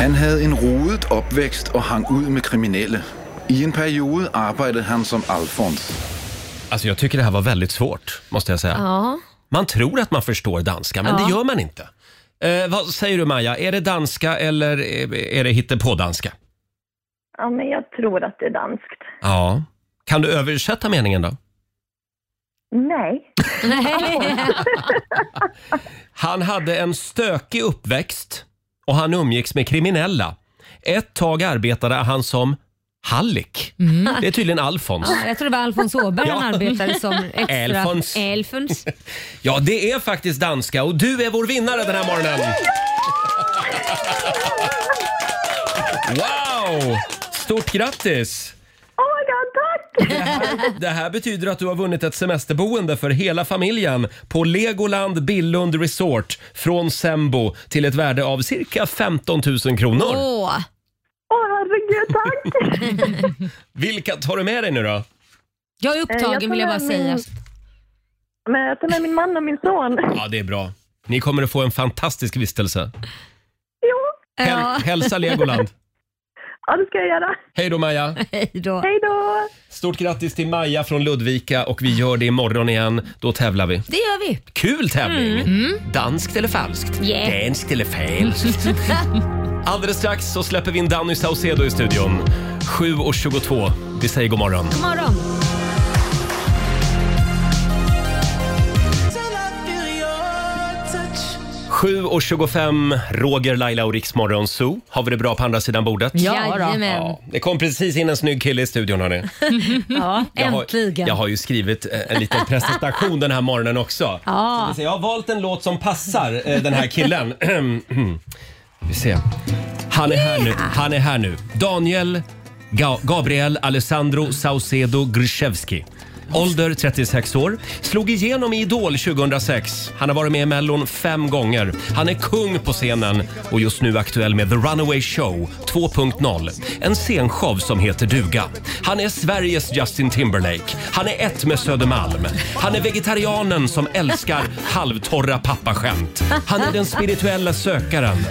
Speaker 12: Han havde en rodet opvækst og hang ud med kriminelle. I en periode arbejdede han som Alfons.
Speaker 1: Alltså jag tycker det här var väldigt svårt, måste jag säga.
Speaker 2: Ja.
Speaker 1: Man tror att man förstår danska, men
Speaker 2: Ja.
Speaker 1: det gör man inte. Eh, vad säger du Maja, är det danska eller är- är det hittepådanska?
Speaker 13: Ja, men jag tror att det är danskt.
Speaker 1: Ja. Kan du översätta meningen då?
Speaker 13: Nej.
Speaker 1: Han hade en stökig uppväxt och han umgicks med kriminella. Ett tag arbetade han som hallick. Det är tydligen Alfons.
Speaker 2: Ja, jag tror det var Alfons Åberg han
Speaker 1: Ja.
Speaker 2: arbetade som extra.
Speaker 1: Alfons.
Speaker 2: Alfons.
Speaker 1: Ja, det är faktiskt danska och du är vår vinnare den här morgonen. Wow! Stort grattis!
Speaker 13: Åh, ja, tack!
Speaker 1: Det här betyder att du har vunnit ett semesterboende för hela familjen på Legoland Billund Resort från Sembo till ett värde av cirka 15 000 kronor.
Speaker 2: Åh,
Speaker 13: Åh, herregud, tack!
Speaker 1: Vilka tar du med dig nu då?
Speaker 2: Jag är
Speaker 13: Eh,
Speaker 2: upptagen
Speaker 13: jag tar
Speaker 2: vill jag bara
Speaker 13: med
Speaker 2: säga.
Speaker 13: min- Men jag tar med min man och min son.
Speaker 1: Ja, det är bra. Ni kommer att få en fantastisk vistelse.
Speaker 13: Jo,
Speaker 1: Häl, Hälsa Legoland.
Speaker 13: Ja, det ska jag göra.
Speaker 1: Hej då Maja.
Speaker 2: Hej då.
Speaker 13: Hej då.
Speaker 1: Stort grattis till Maja från Ludvika och vi gör det imorgon igen. Då tävlar vi.
Speaker 2: Det gör vi.
Speaker 1: Kul tävling! Danskt eller falskt?
Speaker 2: Mm. Yeah.
Speaker 1: Danskt eller falskt? Alldeles strax så släpper vi in Danny Saucedo i studion. 7.22. Vi säger god morgon.
Speaker 2: God morgon.
Speaker 14: touch.
Speaker 1: 7.25, Roger, Laila och Riksmorgon Zoo. Har vi det bra på andra sidan bordet?
Speaker 2: Ja då. Jajamän.
Speaker 1: det kom precis in en snygg kille i studion hörni.
Speaker 2: ja,
Speaker 1: Jag
Speaker 2: äntligen.
Speaker 1: har, jag har ju skrivit eh, en liten presentation den här morgonen också.
Speaker 2: Ja.
Speaker 1: Ska vi se, Jag har valt en låt som passar eh, den här killen. vi ser. Han är här nu. Han är här nu. Daniel Ga- Gabriel Alessandro Saucedo Gruszewski. Ålder 36 år. Slog igenom i Idol 2006. Han har varit med i Mellon fem gånger. Han är kung på scenen och just nu aktuell med The Runaway Show 2.0. En scenshow som heter duga. Han är Sveriges Justin Timberlake. Han är ett med Södermalm. Han är vegetarianen som älskar halvtorra pappaskämt. Han är den spirituella sökaren.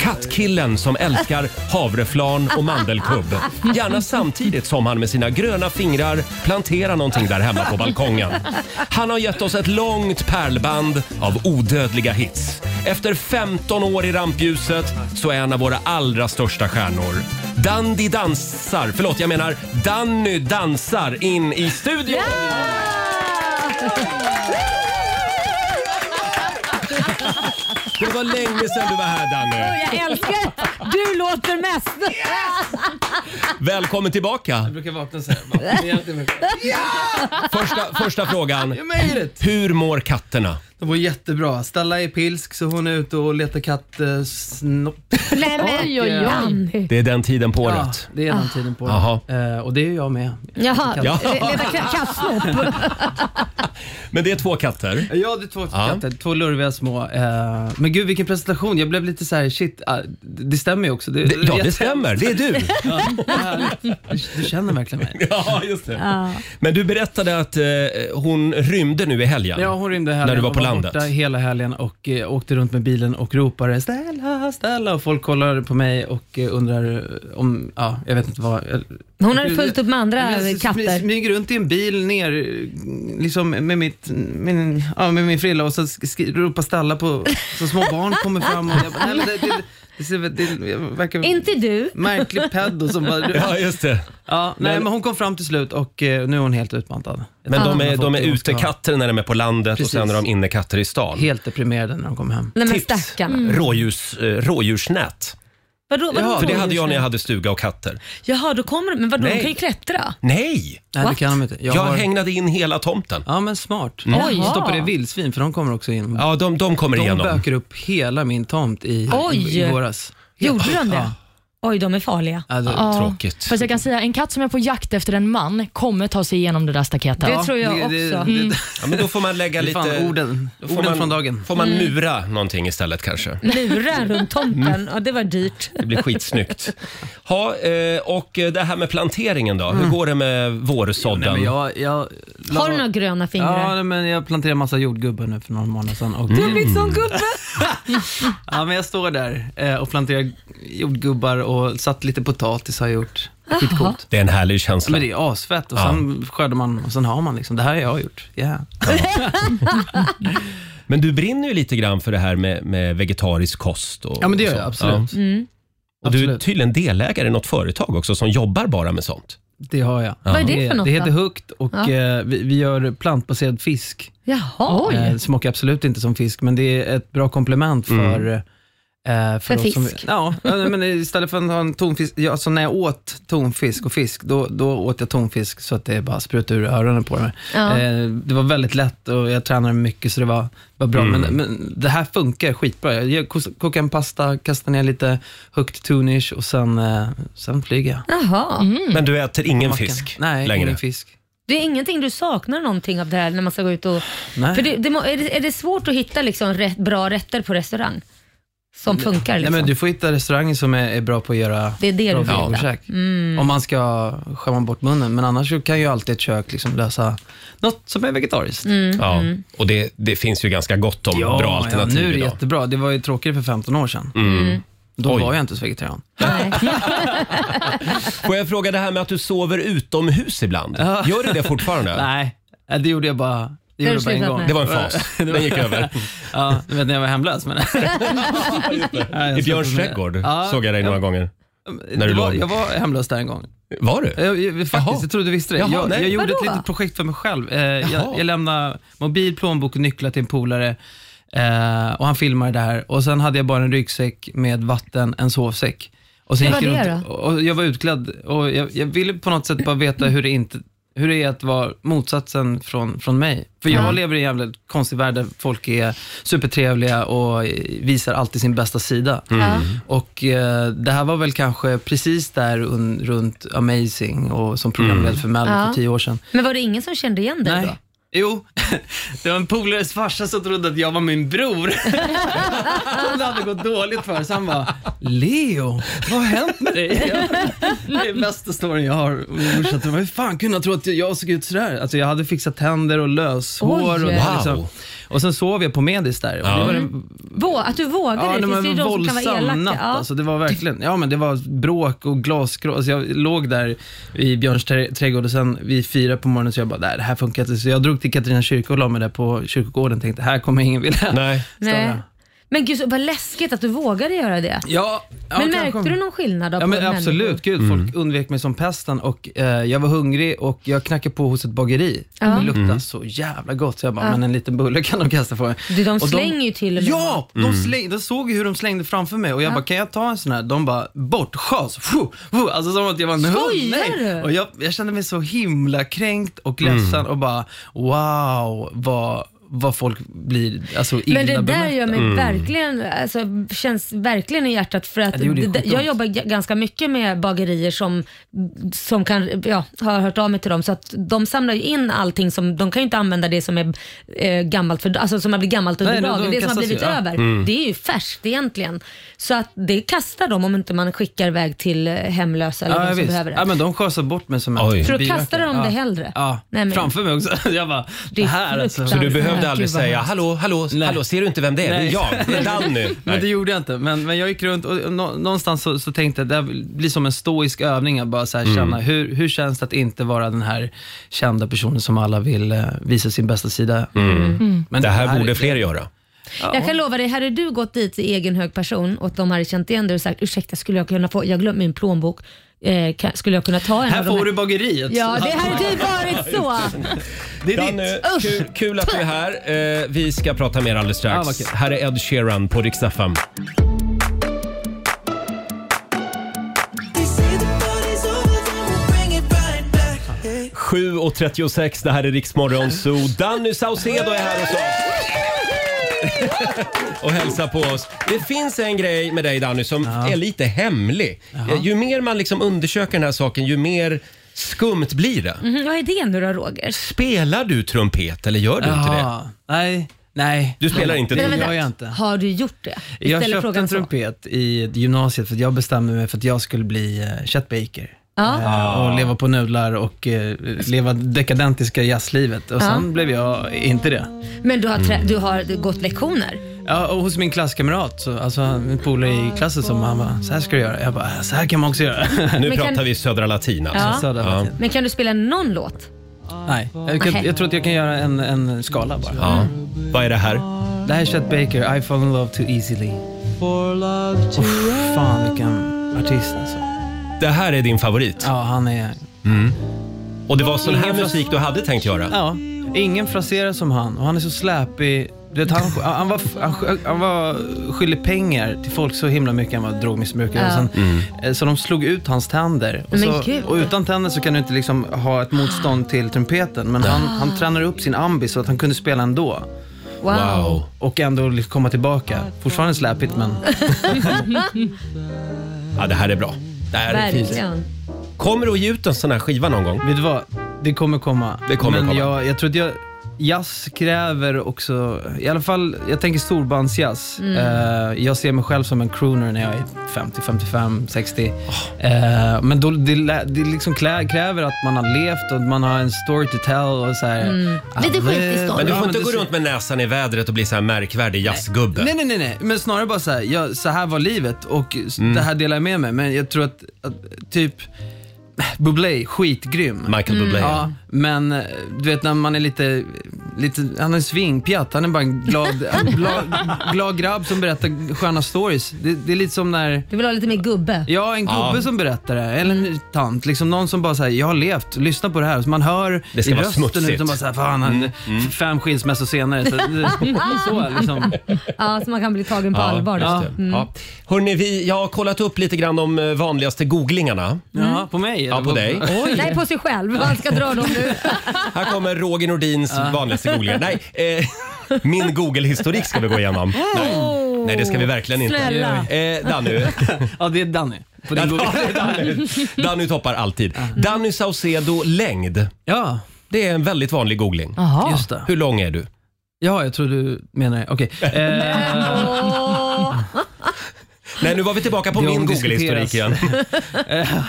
Speaker 1: Kattkillen som älskar havreflarn och mandelkubb. Gärna samtidigt som han med sina gröna fingrar planterar någonting där hemma på balkongen. Han har gett oss ett långt pärlband av odödliga hits. Efter 15 år i rampljuset så är han av våra allra största stjärnor. Dandy dansar, förlåt jag menar Danny dansar in i studion! Det var länge sedan du var här Danny.
Speaker 2: Jag älskar du låter mest.
Speaker 1: Välkommen tillbaka.
Speaker 15: Jag brukar vakna så här. bara, men egentligen brukar jag-
Speaker 1: Första, första frågan.
Speaker 15: Ge mig det.
Speaker 1: Hur mår katterna?
Speaker 15: De var jättebra. Stella är pilsk så hon är ute och letar kattsnopp.
Speaker 2: Nej, men,
Speaker 15: Oj,
Speaker 1: eh,
Speaker 15: oj, oj.
Speaker 2: Danny.
Speaker 1: Det är den tiden på
Speaker 15: Ja,
Speaker 1: året.
Speaker 15: det är den tiden på
Speaker 1: Jaha.
Speaker 15: året. Eh, och det är jag med.
Speaker 2: Jaha,
Speaker 1: Ja.
Speaker 2: leta ka- kattsnopp.
Speaker 1: Men det är två katter.
Speaker 15: Ja, det är två
Speaker 1: Ja.
Speaker 15: katter. Två lurviga små. Eh, men gud vilken presentation. Jag blev lite så här, shit, ah, det det stämmer ju också.
Speaker 1: Det- ja, det stämmer. Det är du.
Speaker 15: ja, vad härligt. du, du känner verkligen mig.
Speaker 1: Ja, just det.
Speaker 15: Ja.
Speaker 1: Men du berättade att eh, hon rymde nu i helgen.
Speaker 15: Ja, hon rymde helgen.
Speaker 1: När du var
Speaker 15: och
Speaker 1: på landet.
Speaker 15: borta hela helgen och eh, åkte runt med bilen och ropade “Stella, Stella” och folk kollar på mig och eh, undrar eh, om, ja, jag vet inte vad. jag-
Speaker 2: Hon hade fullt upp med andra
Speaker 15: Jag sm-
Speaker 2: katter.
Speaker 15: smyger runt i en bil ner eh, liksom med, mitt, min, ja, med min frilla och så sk- sk- ropar Stella på, så små barn kommer fram och jag bara, "Nej, men det, det, det, ser väl- det, det verkar...
Speaker 2: Inte du.
Speaker 15: Märklig peddo som bara...
Speaker 1: Ja, just det.
Speaker 15: Ja, nej,
Speaker 1: Men-
Speaker 15: men hon kom fram till slut och eh, nu är hon helt utmattad.
Speaker 1: Men de är, de är
Speaker 15: Hon ska ha-
Speaker 1: utekatter när de är på landet och sen är de innekatter i stan.
Speaker 15: Helt Mm. deprimerade när de kommer hem.
Speaker 2: Nej men stackarna.
Speaker 1: Rådjurs, eh, rådjursnät.
Speaker 2: Vadå, vadå
Speaker 1: För det hade jag
Speaker 2: rådjursnät?
Speaker 1: när jag hade stuga och katter.
Speaker 2: Jaha, då kommer de. Men vadå, de
Speaker 1: Nej.
Speaker 2: kan ju klättra.
Speaker 1: Nej!
Speaker 15: Nej, det kan de inte.
Speaker 1: Jag,
Speaker 15: Jag har-
Speaker 1: hägnade in hela tomten.
Speaker 15: Ja, men smart.
Speaker 1: Mm.
Speaker 15: Oj.
Speaker 1: Jaha.
Speaker 15: Stoppade vildsvin, för de kommer också in.
Speaker 1: Ja, de, de kommer
Speaker 15: de
Speaker 1: igenom.
Speaker 15: böker upp hela min tomt i,
Speaker 5: Oj.
Speaker 15: i, i våras.
Speaker 2: Gjorde de det?
Speaker 15: Ja.
Speaker 2: Oj, de är farliga.
Speaker 15: Ja, det är
Speaker 5: Ja.
Speaker 1: tråkigt.
Speaker 5: Fast jag kan säga, en katt som är på jakt efter en man kommer ta sig igenom det där staketet.
Speaker 2: Det tror jag också. Mm.
Speaker 1: Ja, men då får man lägga
Speaker 15: Det är
Speaker 1: lite...
Speaker 15: fan orden.
Speaker 1: då får
Speaker 15: Orden
Speaker 1: man,
Speaker 15: från dagen.
Speaker 1: Får man
Speaker 2: Mm.
Speaker 1: mura någonting istället kanske?
Speaker 2: Murar runt tomten. Ja, det var dyrt.
Speaker 1: Det blir skitsnyggt. Ha, eh, och det här med planteringen då? Hur går det med vårsådden?
Speaker 15: Nej, men jag, jag la-
Speaker 2: Har du några gröna
Speaker 15: Ja,
Speaker 2: fingrar?
Speaker 15: nej, men jag planterade massa jordgubbar nu för några månader sedan. Och,
Speaker 2: Du har
Speaker 1: Mm.
Speaker 2: blivit sån gubbe.
Speaker 15: Ja, men jag står där eh, och planterar jordgubbar och satt lite potatis har jag gjort. Skitcoolt.
Speaker 1: Det är en härlig känsla.
Speaker 15: Men det är asfett och
Speaker 1: Ja.
Speaker 15: sen skördar man och sen har man liksom, det här har jag gjort. Yeah.
Speaker 1: Men du brinner ju lite grann för det här med, med vegetarisk kost. Och,
Speaker 15: Ja, men det gör
Speaker 1: och
Speaker 15: jag
Speaker 1: sånt.
Speaker 15: absolut.
Speaker 1: Ja. Och du är tydligen delägare i något företag också som jobbar bara med sånt.
Speaker 15: Det har jag.
Speaker 1: Vad är det för något
Speaker 15: Det heter
Speaker 1: då?
Speaker 15: Hooked och
Speaker 1: Ja.
Speaker 15: eh, vi, vi gör plantbaserad fisk.
Speaker 2: Jaha.
Speaker 15: Eh, det smakar absolut inte som fisk, men det är ett bra komplement
Speaker 1: Mm.
Speaker 15: för eh,
Speaker 2: För
Speaker 15: oss som-
Speaker 2: fisk.
Speaker 15: ja, eh, men istället för att ha en tonfisk, ja, så när jag åt tonfisk och fisk, då, då åt jag tonfisk så att det bara sprutade ur öronen på mig.
Speaker 2: Ja.
Speaker 15: Eh, det var väldigt lätt och jag tränade mycket så det var, var bra.
Speaker 1: Mm.
Speaker 15: Men, men det här funkar skitbra. Jag gör- kos- kokar en pasta, kastar ner lite hooked tunish och sen, eh, sen flyger jag.
Speaker 2: Jaha. Mm.
Speaker 1: Men du äter ingen
Speaker 15: Mackan.
Speaker 1: fisk
Speaker 15: Nej,
Speaker 1: längre?
Speaker 15: ingen fisk.
Speaker 2: Det är ingenting du saknar någonting av det här när man ska gå ut och...
Speaker 15: Nej.
Speaker 2: För det, det, må- är, det, är det svårt att hitta liksom rätt, bra rätter på restaurang? Som funkar liksom?
Speaker 15: Nej, men du får hitta restauranger som är, är bra på att göra
Speaker 2: Det är det
Speaker 15: bra
Speaker 2: du vill Mm. hitta.
Speaker 15: vegokäk. Om man ska skämma bort munnen, men annars så kan ju alltid ett kök liksom lösa något som är vegetariskt.
Speaker 2: Mm,
Speaker 1: Ja, och det, det finns ju ganska gott om bra alternativ
Speaker 15: nu är det
Speaker 1: idag.
Speaker 15: jättebra. Det var ju tråkigare för 15 år sedan.
Speaker 1: Mm.
Speaker 15: Då var jag inte så vegetarian.
Speaker 1: Får jag fråga det här med att du sover utomhus ibland? Gör du det fortfarande?
Speaker 15: Nej, det gjorde jag bara, det
Speaker 1: Det har
Speaker 15: gjorde
Speaker 1: du
Speaker 15: jag bara
Speaker 1: slutat
Speaker 15: en gång.
Speaker 1: med. Det var en fas. Den gick över.
Speaker 15: ja, du vet när jag var hemlös men...
Speaker 1: I Björns trädgård såg jag dig några gånger. När du
Speaker 15: det var,
Speaker 1: låg.
Speaker 15: jag var hemlös där en gång.
Speaker 1: Var du?
Speaker 15: Eh, Jag, jag, faktiskt, jag trodde du visste det.
Speaker 1: Jaha,
Speaker 15: jag,
Speaker 1: nej.
Speaker 15: jag gjorde
Speaker 1: Vadå?
Speaker 15: ett litet projekt för mig själv. Eh,
Speaker 1: Jaha.
Speaker 15: jag, jag lämnade mobil, plånbok och nycklar till en polare eh, och han filmade det här. Och sen hade jag bara en ryggsäck med vatten, en sovsäck. Och sen
Speaker 14: Hur
Speaker 15: gick
Speaker 14: var
Speaker 15: jag
Speaker 14: det
Speaker 15: runt,
Speaker 14: då?
Speaker 15: och Jag var utklädd och jag, jag ville på något sätt bara veta hur det, inte, hur det är att vara motsatsen från, från mig. För jag
Speaker 14: Mm.
Speaker 15: lever i en jävla konstig värld där folk är supertrevliga och visar alltid sin bästa sida.
Speaker 14: Mm. Ja.
Speaker 15: Och eh, det här var väl kanske precis där un, runt Amazing och som programledare
Speaker 14: Mm.
Speaker 15: för Mello
Speaker 2: Ja.
Speaker 15: för tio år sedan.
Speaker 2: Men var det ingen som kände igen dig då?
Speaker 15: Jo, det var en polares farsa som trodde att jag var min bror. Och det hade gått dåligt för så han bara, Leo, vad har hänt med dig? Det är bästa storyn jag har. Och min brorsa trodde, Hur fan kunde han tro att jag såg ut sådär? Alltså jag hade fixat tänder och löshår.
Speaker 2: Oj. Mm.
Speaker 15: och, det var
Speaker 2: Wow.
Speaker 15: och sen sov jag på Medis där. Och det var det
Speaker 2: Vå, att du vågade?
Speaker 15: Ja,
Speaker 2: det
Speaker 15: det var
Speaker 2: finns ju
Speaker 15: en
Speaker 2: de som kan vara elaka.
Speaker 15: våldsam natt.
Speaker 2: Ja.
Speaker 15: Alltså, det var verkligen, ja men det var bråk och glasgrås. Alltså, jag låg där i Björns trä- trädgård och sen vid fyra på morgonen så jag bara, nej det här funkar inte. Så jag drog till Katarina kyrka och la mig där på kyrkogården och tänkte, här kommer ingen vilja Nej.
Speaker 2: Nej. Men gud, så- vad läskigt att du vågade göra det.
Speaker 15: Ja, ja,
Speaker 2: men
Speaker 15: kanske.
Speaker 2: märkte du någon skillnad då
Speaker 15: Ja,
Speaker 2: på
Speaker 15: men
Speaker 2: människor?
Speaker 15: absolut, gud,
Speaker 2: Mm.
Speaker 15: folk undvek mig som pesten och eh, jag var hungrig och jag knackade på hos ett bageri.
Speaker 2: Ja.
Speaker 15: Det luktade
Speaker 2: Mm.
Speaker 15: så jävla gott så jag bara,
Speaker 2: Ja.
Speaker 15: men en liten bulle kan de kasta på mig.
Speaker 2: Du, de
Speaker 15: Och
Speaker 2: slänger ju till och med
Speaker 15: Ja,
Speaker 2: mat.
Speaker 15: de,
Speaker 2: Mm.
Speaker 15: släng, de såg ju hur de slängde framför mig och jag bara, kan jag ta en sån här? De bara, bort, schas, fuh, fuh. Alltså som att jag var en hund.
Speaker 2: Skojar
Speaker 15: Nej.
Speaker 2: du?
Speaker 15: Och jag, jag kände mig så himla kränkt och
Speaker 14: Mm.
Speaker 15: ledsen och bara, wow, vad, vad folk blir alltså, illa
Speaker 2: Men det där gör mig
Speaker 15: bemötta.
Speaker 2: verkligen, alltså, känns verkligen i hjärtat för att
Speaker 15: Ja, det gjorde ju
Speaker 2: det-
Speaker 15: skitont.
Speaker 2: jag jobbar g- ganska mycket med bagerier som, som kan, ja, har hört av mig till dem så att de samlar ju in allting som, de kan ju inte använda det som är eh, gammalt för, alltså som har blivit gammalt under
Speaker 14: Nej, de- de
Speaker 2: dagen, det som har
Speaker 14: kastas ju,
Speaker 2: blivit
Speaker 14: ja.
Speaker 2: över.
Speaker 14: Mm.
Speaker 2: Det är ju färskt egentligen. Så att det kastar de om inte man skickar iväg till eh, hemlösa eller
Speaker 15: Ja,
Speaker 2: de
Speaker 15: ja,
Speaker 2: som
Speaker 15: visst.
Speaker 2: behöver det.
Speaker 15: Ja, men de schasade bort mig som en
Speaker 2: Så då
Speaker 15: bilöken.
Speaker 2: kastade de
Speaker 15: ja.
Speaker 2: det hellre?
Speaker 15: Ja,
Speaker 2: Nej, men-
Speaker 15: framför mig också. Jag bara, det här alltså.
Speaker 1: Så du behövde aldrig säga hallå, hallå, hallå, ser du inte vem det är? Det är jag, det är Danny.
Speaker 15: Men det
Speaker 1: Nej.
Speaker 15: gjorde jag inte. Men, men jag gick runt och nå- någonstans så, så tänkte jag det här blir som en stoisk övning att bara så här
Speaker 1: Mm.
Speaker 15: känna, hur, hur känns det att inte vara den här kända personen som alla vill eh, visa sin bästa sida?
Speaker 2: Mm.
Speaker 1: Det här borde fler göra.
Speaker 2: Jag kan lova dig, hade du gått dit i egen hög person och de hade känt igen dig och sagt ursäkta, skulle jag kunna få, jag glömde min plånbok, eh, kan, skulle jag kunna ta en
Speaker 15: Här
Speaker 2: av de
Speaker 15: får du bageriet.
Speaker 2: Ja, det hade ju varit så.
Speaker 1: Det är ditt. Kul, kul att du är här. Eh, vi ska prata mer alldeles
Speaker 15: Ja,
Speaker 1: strax.
Speaker 15: vad kul.
Speaker 1: här är Ed Sheeran på Rix FM.
Speaker 14: Mm.
Speaker 1: 7.36, det här är Riksmorgon Zoo. Danny Saucedo är här hos oss och hälsar på oss. Det finns en grej med dig Danny som är lite hemlig. Eh, Ju mer man liksom undersöker den här saken, ju mer skumt blir det.
Speaker 2: Mhm, vad är det nu då Roger?
Speaker 1: Spelar du trumpet eller gör du inte det?
Speaker 15: Jaha. Nej, nej.
Speaker 1: Du spelar inte
Speaker 15: det.
Speaker 2: Men vänta,
Speaker 15: gör jag inte.
Speaker 2: Har du gjort det? Vi
Speaker 15: Jag
Speaker 2: ställer
Speaker 15: köpte
Speaker 2: frågan
Speaker 15: en
Speaker 2: så.
Speaker 15: trumpet i gymnasiet för att jag bestämde mig för att jag skulle bli eh, köttbaker.
Speaker 2: Ja.
Speaker 15: Eh, Och leva på nudlar och eh, leva dekadentiska jazzlivet. Och
Speaker 2: Ja.
Speaker 15: sen blev jag inte det.
Speaker 2: Men du har, trä- du har gått lektioner?
Speaker 15: Ja, och hos min klasskamrat, så, alltså en polare i klassen som han bara, så här ska du göra. Jag bara, så här kan man också göra.
Speaker 2: Nu Men pratar kan- vi
Speaker 1: Södra Latin alltså.
Speaker 2: Ja.
Speaker 15: Södra Latin.
Speaker 2: Men kan du spela någon låt?
Speaker 15: Nej, jag, kan,
Speaker 2: Nej.
Speaker 15: jag tror att jag kan göra en, en skala bara.
Speaker 1: Ja. Vad är det här?
Speaker 15: Det här är Chet Baker, I fall in love too easily. Uff, fan vilken artist alltså.
Speaker 1: Det här är din favorit?
Speaker 15: Ja, han är...
Speaker 1: Mm. Och det var sån här
Speaker 15: Ingen fras-
Speaker 1: musik du hade tänkt göra?
Speaker 15: Ja, ingen fraserar som han och han är så släpig. Du vet, han, han, var, han, han var skyldig pengar till folk så himla mycket. Han var drogmissbrukare.
Speaker 14: Ja. Mm.
Speaker 15: Och sen, eh, Så de slog ut hans tänder. Och,
Speaker 14: Men
Speaker 15: så,
Speaker 14: gud.
Speaker 15: och utan tänder så kan du inte liksom ha ett motstånd till trumpeten. Men han,
Speaker 14: Ah.
Speaker 15: han tränade upp sin ambi så att han kunde spela ändå.
Speaker 2: Wow. Wow.
Speaker 15: Och ändå liksom komma tillbaka. Fortfarande släpigt men...
Speaker 1: Ja, det här är bra. Det här är fint.
Speaker 2: Verkligen.
Speaker 1: Kommer du att ge ut en sån här skiva någon gång?
Speaker 15: Vet du vad? Det kommer komma.
Speaker 1: Det kommer
Speaker 15: men
Speaker 1: komma.
Speaker 15: Jag, jag tror att jag, jazz kräver också, i alla fall, jag tänker storbandsjazz.
Speaker 14: Mm.
Speaker 15: Eh, jag ser mig själv som en crooner när jag är 50, 55, 60.
Speaker 1: Oh.
Speaker 15: Eh, men då, det, lä- det liksom klä, kräver att man har levt och att man har en story to tell. Och så här, "Ah, det-
Speaker 1: Men du
Speaker 15: Ja,
Speaker 1: får inte
Speaker 15: det
Speaker 1: gå
Speaker 15: ser-
Speaker 1: runt med näsan i vädret och bli så här märkvärdig jazzgubbe.
Speaker 15: Nej, nej, nej, nej. Men snarare bara så här, ja, så här var livet och s-
Speaker 1: Mm.
Speaker 15: det här delar jag med mig. Men jag tror att, att typ Bublé, skitgrym.
Speaker 1: Michael Bublé, Mm.
Speaker 15: Ja, men eh, du vet när man är lite, lite han är svingpjatt, han är bara en glad, en glad, glad grabb som berättar sköna stories. Det, det är lite som när
Speaker 2: Du vill ha lite mer gubbe?
Speaker 15: Ja, en gubbe som berättar det. Eller en tant. Liksom någon som bara säger jag har levt, lyssna på det här. Så man hör
Speaker 1: Det ska
Speaker 15: i
Speaker 1: vara
Speaker 15: rösten
Speaker 1: smutsigt.
Speaker 15: utan bara såhär, fan, han,
Speaker 1: Mm, mm.
Speaker 15: fem skilsmässor senare. Så, så liksom.
Speaker 2: Ja, så man kan bli tagen på allvar. då.
Speaker 1: just det.
Speaker 2: Mm.
Speaker 1: Ja. Hörrni, vi, jag har kollat upp lite grann de eh, vanligaste googlingarna.
Speaker 15: Ja, på mig?
Speaker 1: Mm. Ja, på dig.
Speaker 2: Nej, på sig själv. Han ska dra dem nu.
Speaker 1: Här kommer Roger Nordins vanligaste googlingar. Nej, eh, min Google-historik ska vi gå igenom. Nej, nej det ska vi verkligen inte.
Speaker 15: Snälla.
Speaker 1: Eh, Danny.
Speaker 15: Ja, det Mm. är Danny. På din
Speaker 1: ja,
Speaker 15: Google.
Speaker 1: det är Danny. Danny toppar alltid. Danny Saucedo längd.
Speaker 15: Ja.
Speaker 1: Det är en väldigt vanlig googling.
Speaker 5: Aha. Just
Speaker 15: det.
Speaker 1: Hur lång är du?
Speaker 15: Ja, jag tror du menar... Okej. Eh,
Speaker 1: Nej, nu var vi tillbaka på
Speaker 15: Det
Speaker 1: min
Speaker 15: omdiskuteras.
Speaker 1: Google-historik igen.
Speaker 15: Eh,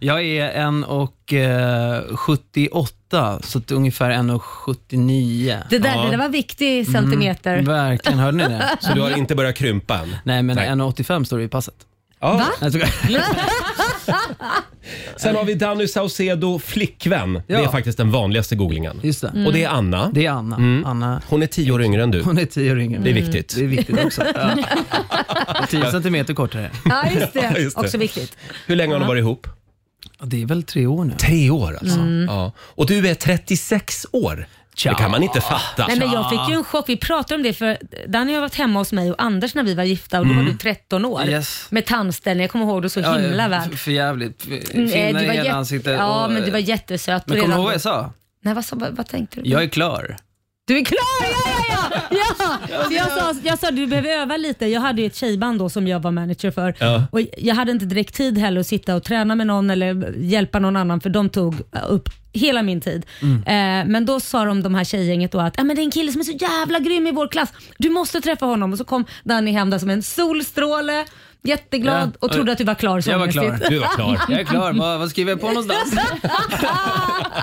Speaker 15: jag är en och eh, 78, så att ungefär en och 79.
Speaker 2: Det där, det där var viktig centimeter.
Speaker 15: Mm, verkligen, hörde ni det?
Speaker 1: Så du har inte börjat krympa än?
Speaker 15: Nej, men 1,85 står det i passet.
Speaker 1: Va?
Speaker 15: Jag skojar.
Speaker 1: Sen har vi Danny Saucedo flickvän. Det är
Speaker 15: Ja.
Speaker 1: faktiskt den vanligaste googlingen.
Speaker 15: Just
Speaker 2: Mm.
Speaker 15: det.
Speaker 1: Och det är Anna.
Speaker 15: Det är Anna.
Speaker 1: Mm.
Speaker 15: Anna.
Speaker 1: Hon är tio år yngre än du.
Speaker 15: Hon är tio år yngre.
Speaker 1: Det är viktigt.
Speaker 15: Det är viktigt också. Ja. 10 centimeter kortare.
Speaker 2: Ja, just det.
Speaker 1: Just det.
Speaker 2: Också viktigt.
Speaker 1: Hur länge har ni
Speaker 2: Ja.
Speaker 1: varit ihop?
Speaker 15: Det är väl tre år nu.
Speaker 1: Tre år alltså?
Speaker 2: Mm.
Speaker 1: Ja. Och du är 36 år. Det kan man inte fatta.
Speaker 2: Nej, men jag fick ju en chock. Vi pratade om det för Danny har varit hemma hos mig och Anders när vi var gifta och då
Speaker 15: Mm.
Speaker 2: var du 13 år.
Speaker 15: Yes.
Speaker 2: Med tandställning. Jag kommer ihåg det så
Speaker 15: Ja,
Speaker 2: himla
Speaker 15: ja,
Speaker 2: väl.
Speaker 15: f- För jävligt. F-
Speaker 2: Nej,
Speaker 15: Finnar
Speaker 2: du
Speaker 15: i
Speaker 2: var
Speaker 15: hela
Speaker 2: jätte-
Speaker 15: ansiktet.
Speaker 2: Ja,
Speaker 15: och- eh,
Speaker 2: men du var jättesöt.
Speaker 15: Men kommer
Speaker 2: redan
Speaker 15: du ihåg vad
Speaker 2: då.
Speaker 15: jag sa?
Speaker 2: Nej, vad, sa- vad, vad tänkte du?
Speaker 15: Jag är klar.
Speaker 2: Du är klar! Ja, ja, ja! ja. Så jag, sa, jag sa du behöver öva lite. Jag hade ju ett tjejband då som jag var manager för.
Speaker 15: Ja.
Speaker 2: Och jag hade inte direkt tid heller att sitta och träna med någon eller hjälpa någon annan för de tog upp hela min tid.
Speaker 16: Mm.
Speaker 2: Eh, men då sa de, de här tjejgänget då att ah, men det är en kille som är så jävla grym i vår klass. Du måste träffa honom. Och så kom Danny hem där som en solstråle, jätteglad
Speaker 15: Ja.
Speaker 2: och trodde att du var klar
Speaker 15: Jag var klar.
Speaker 2: sångmässigt.
Speaker 15: Jag är klar. Vad, vad skriver jag på någonstans?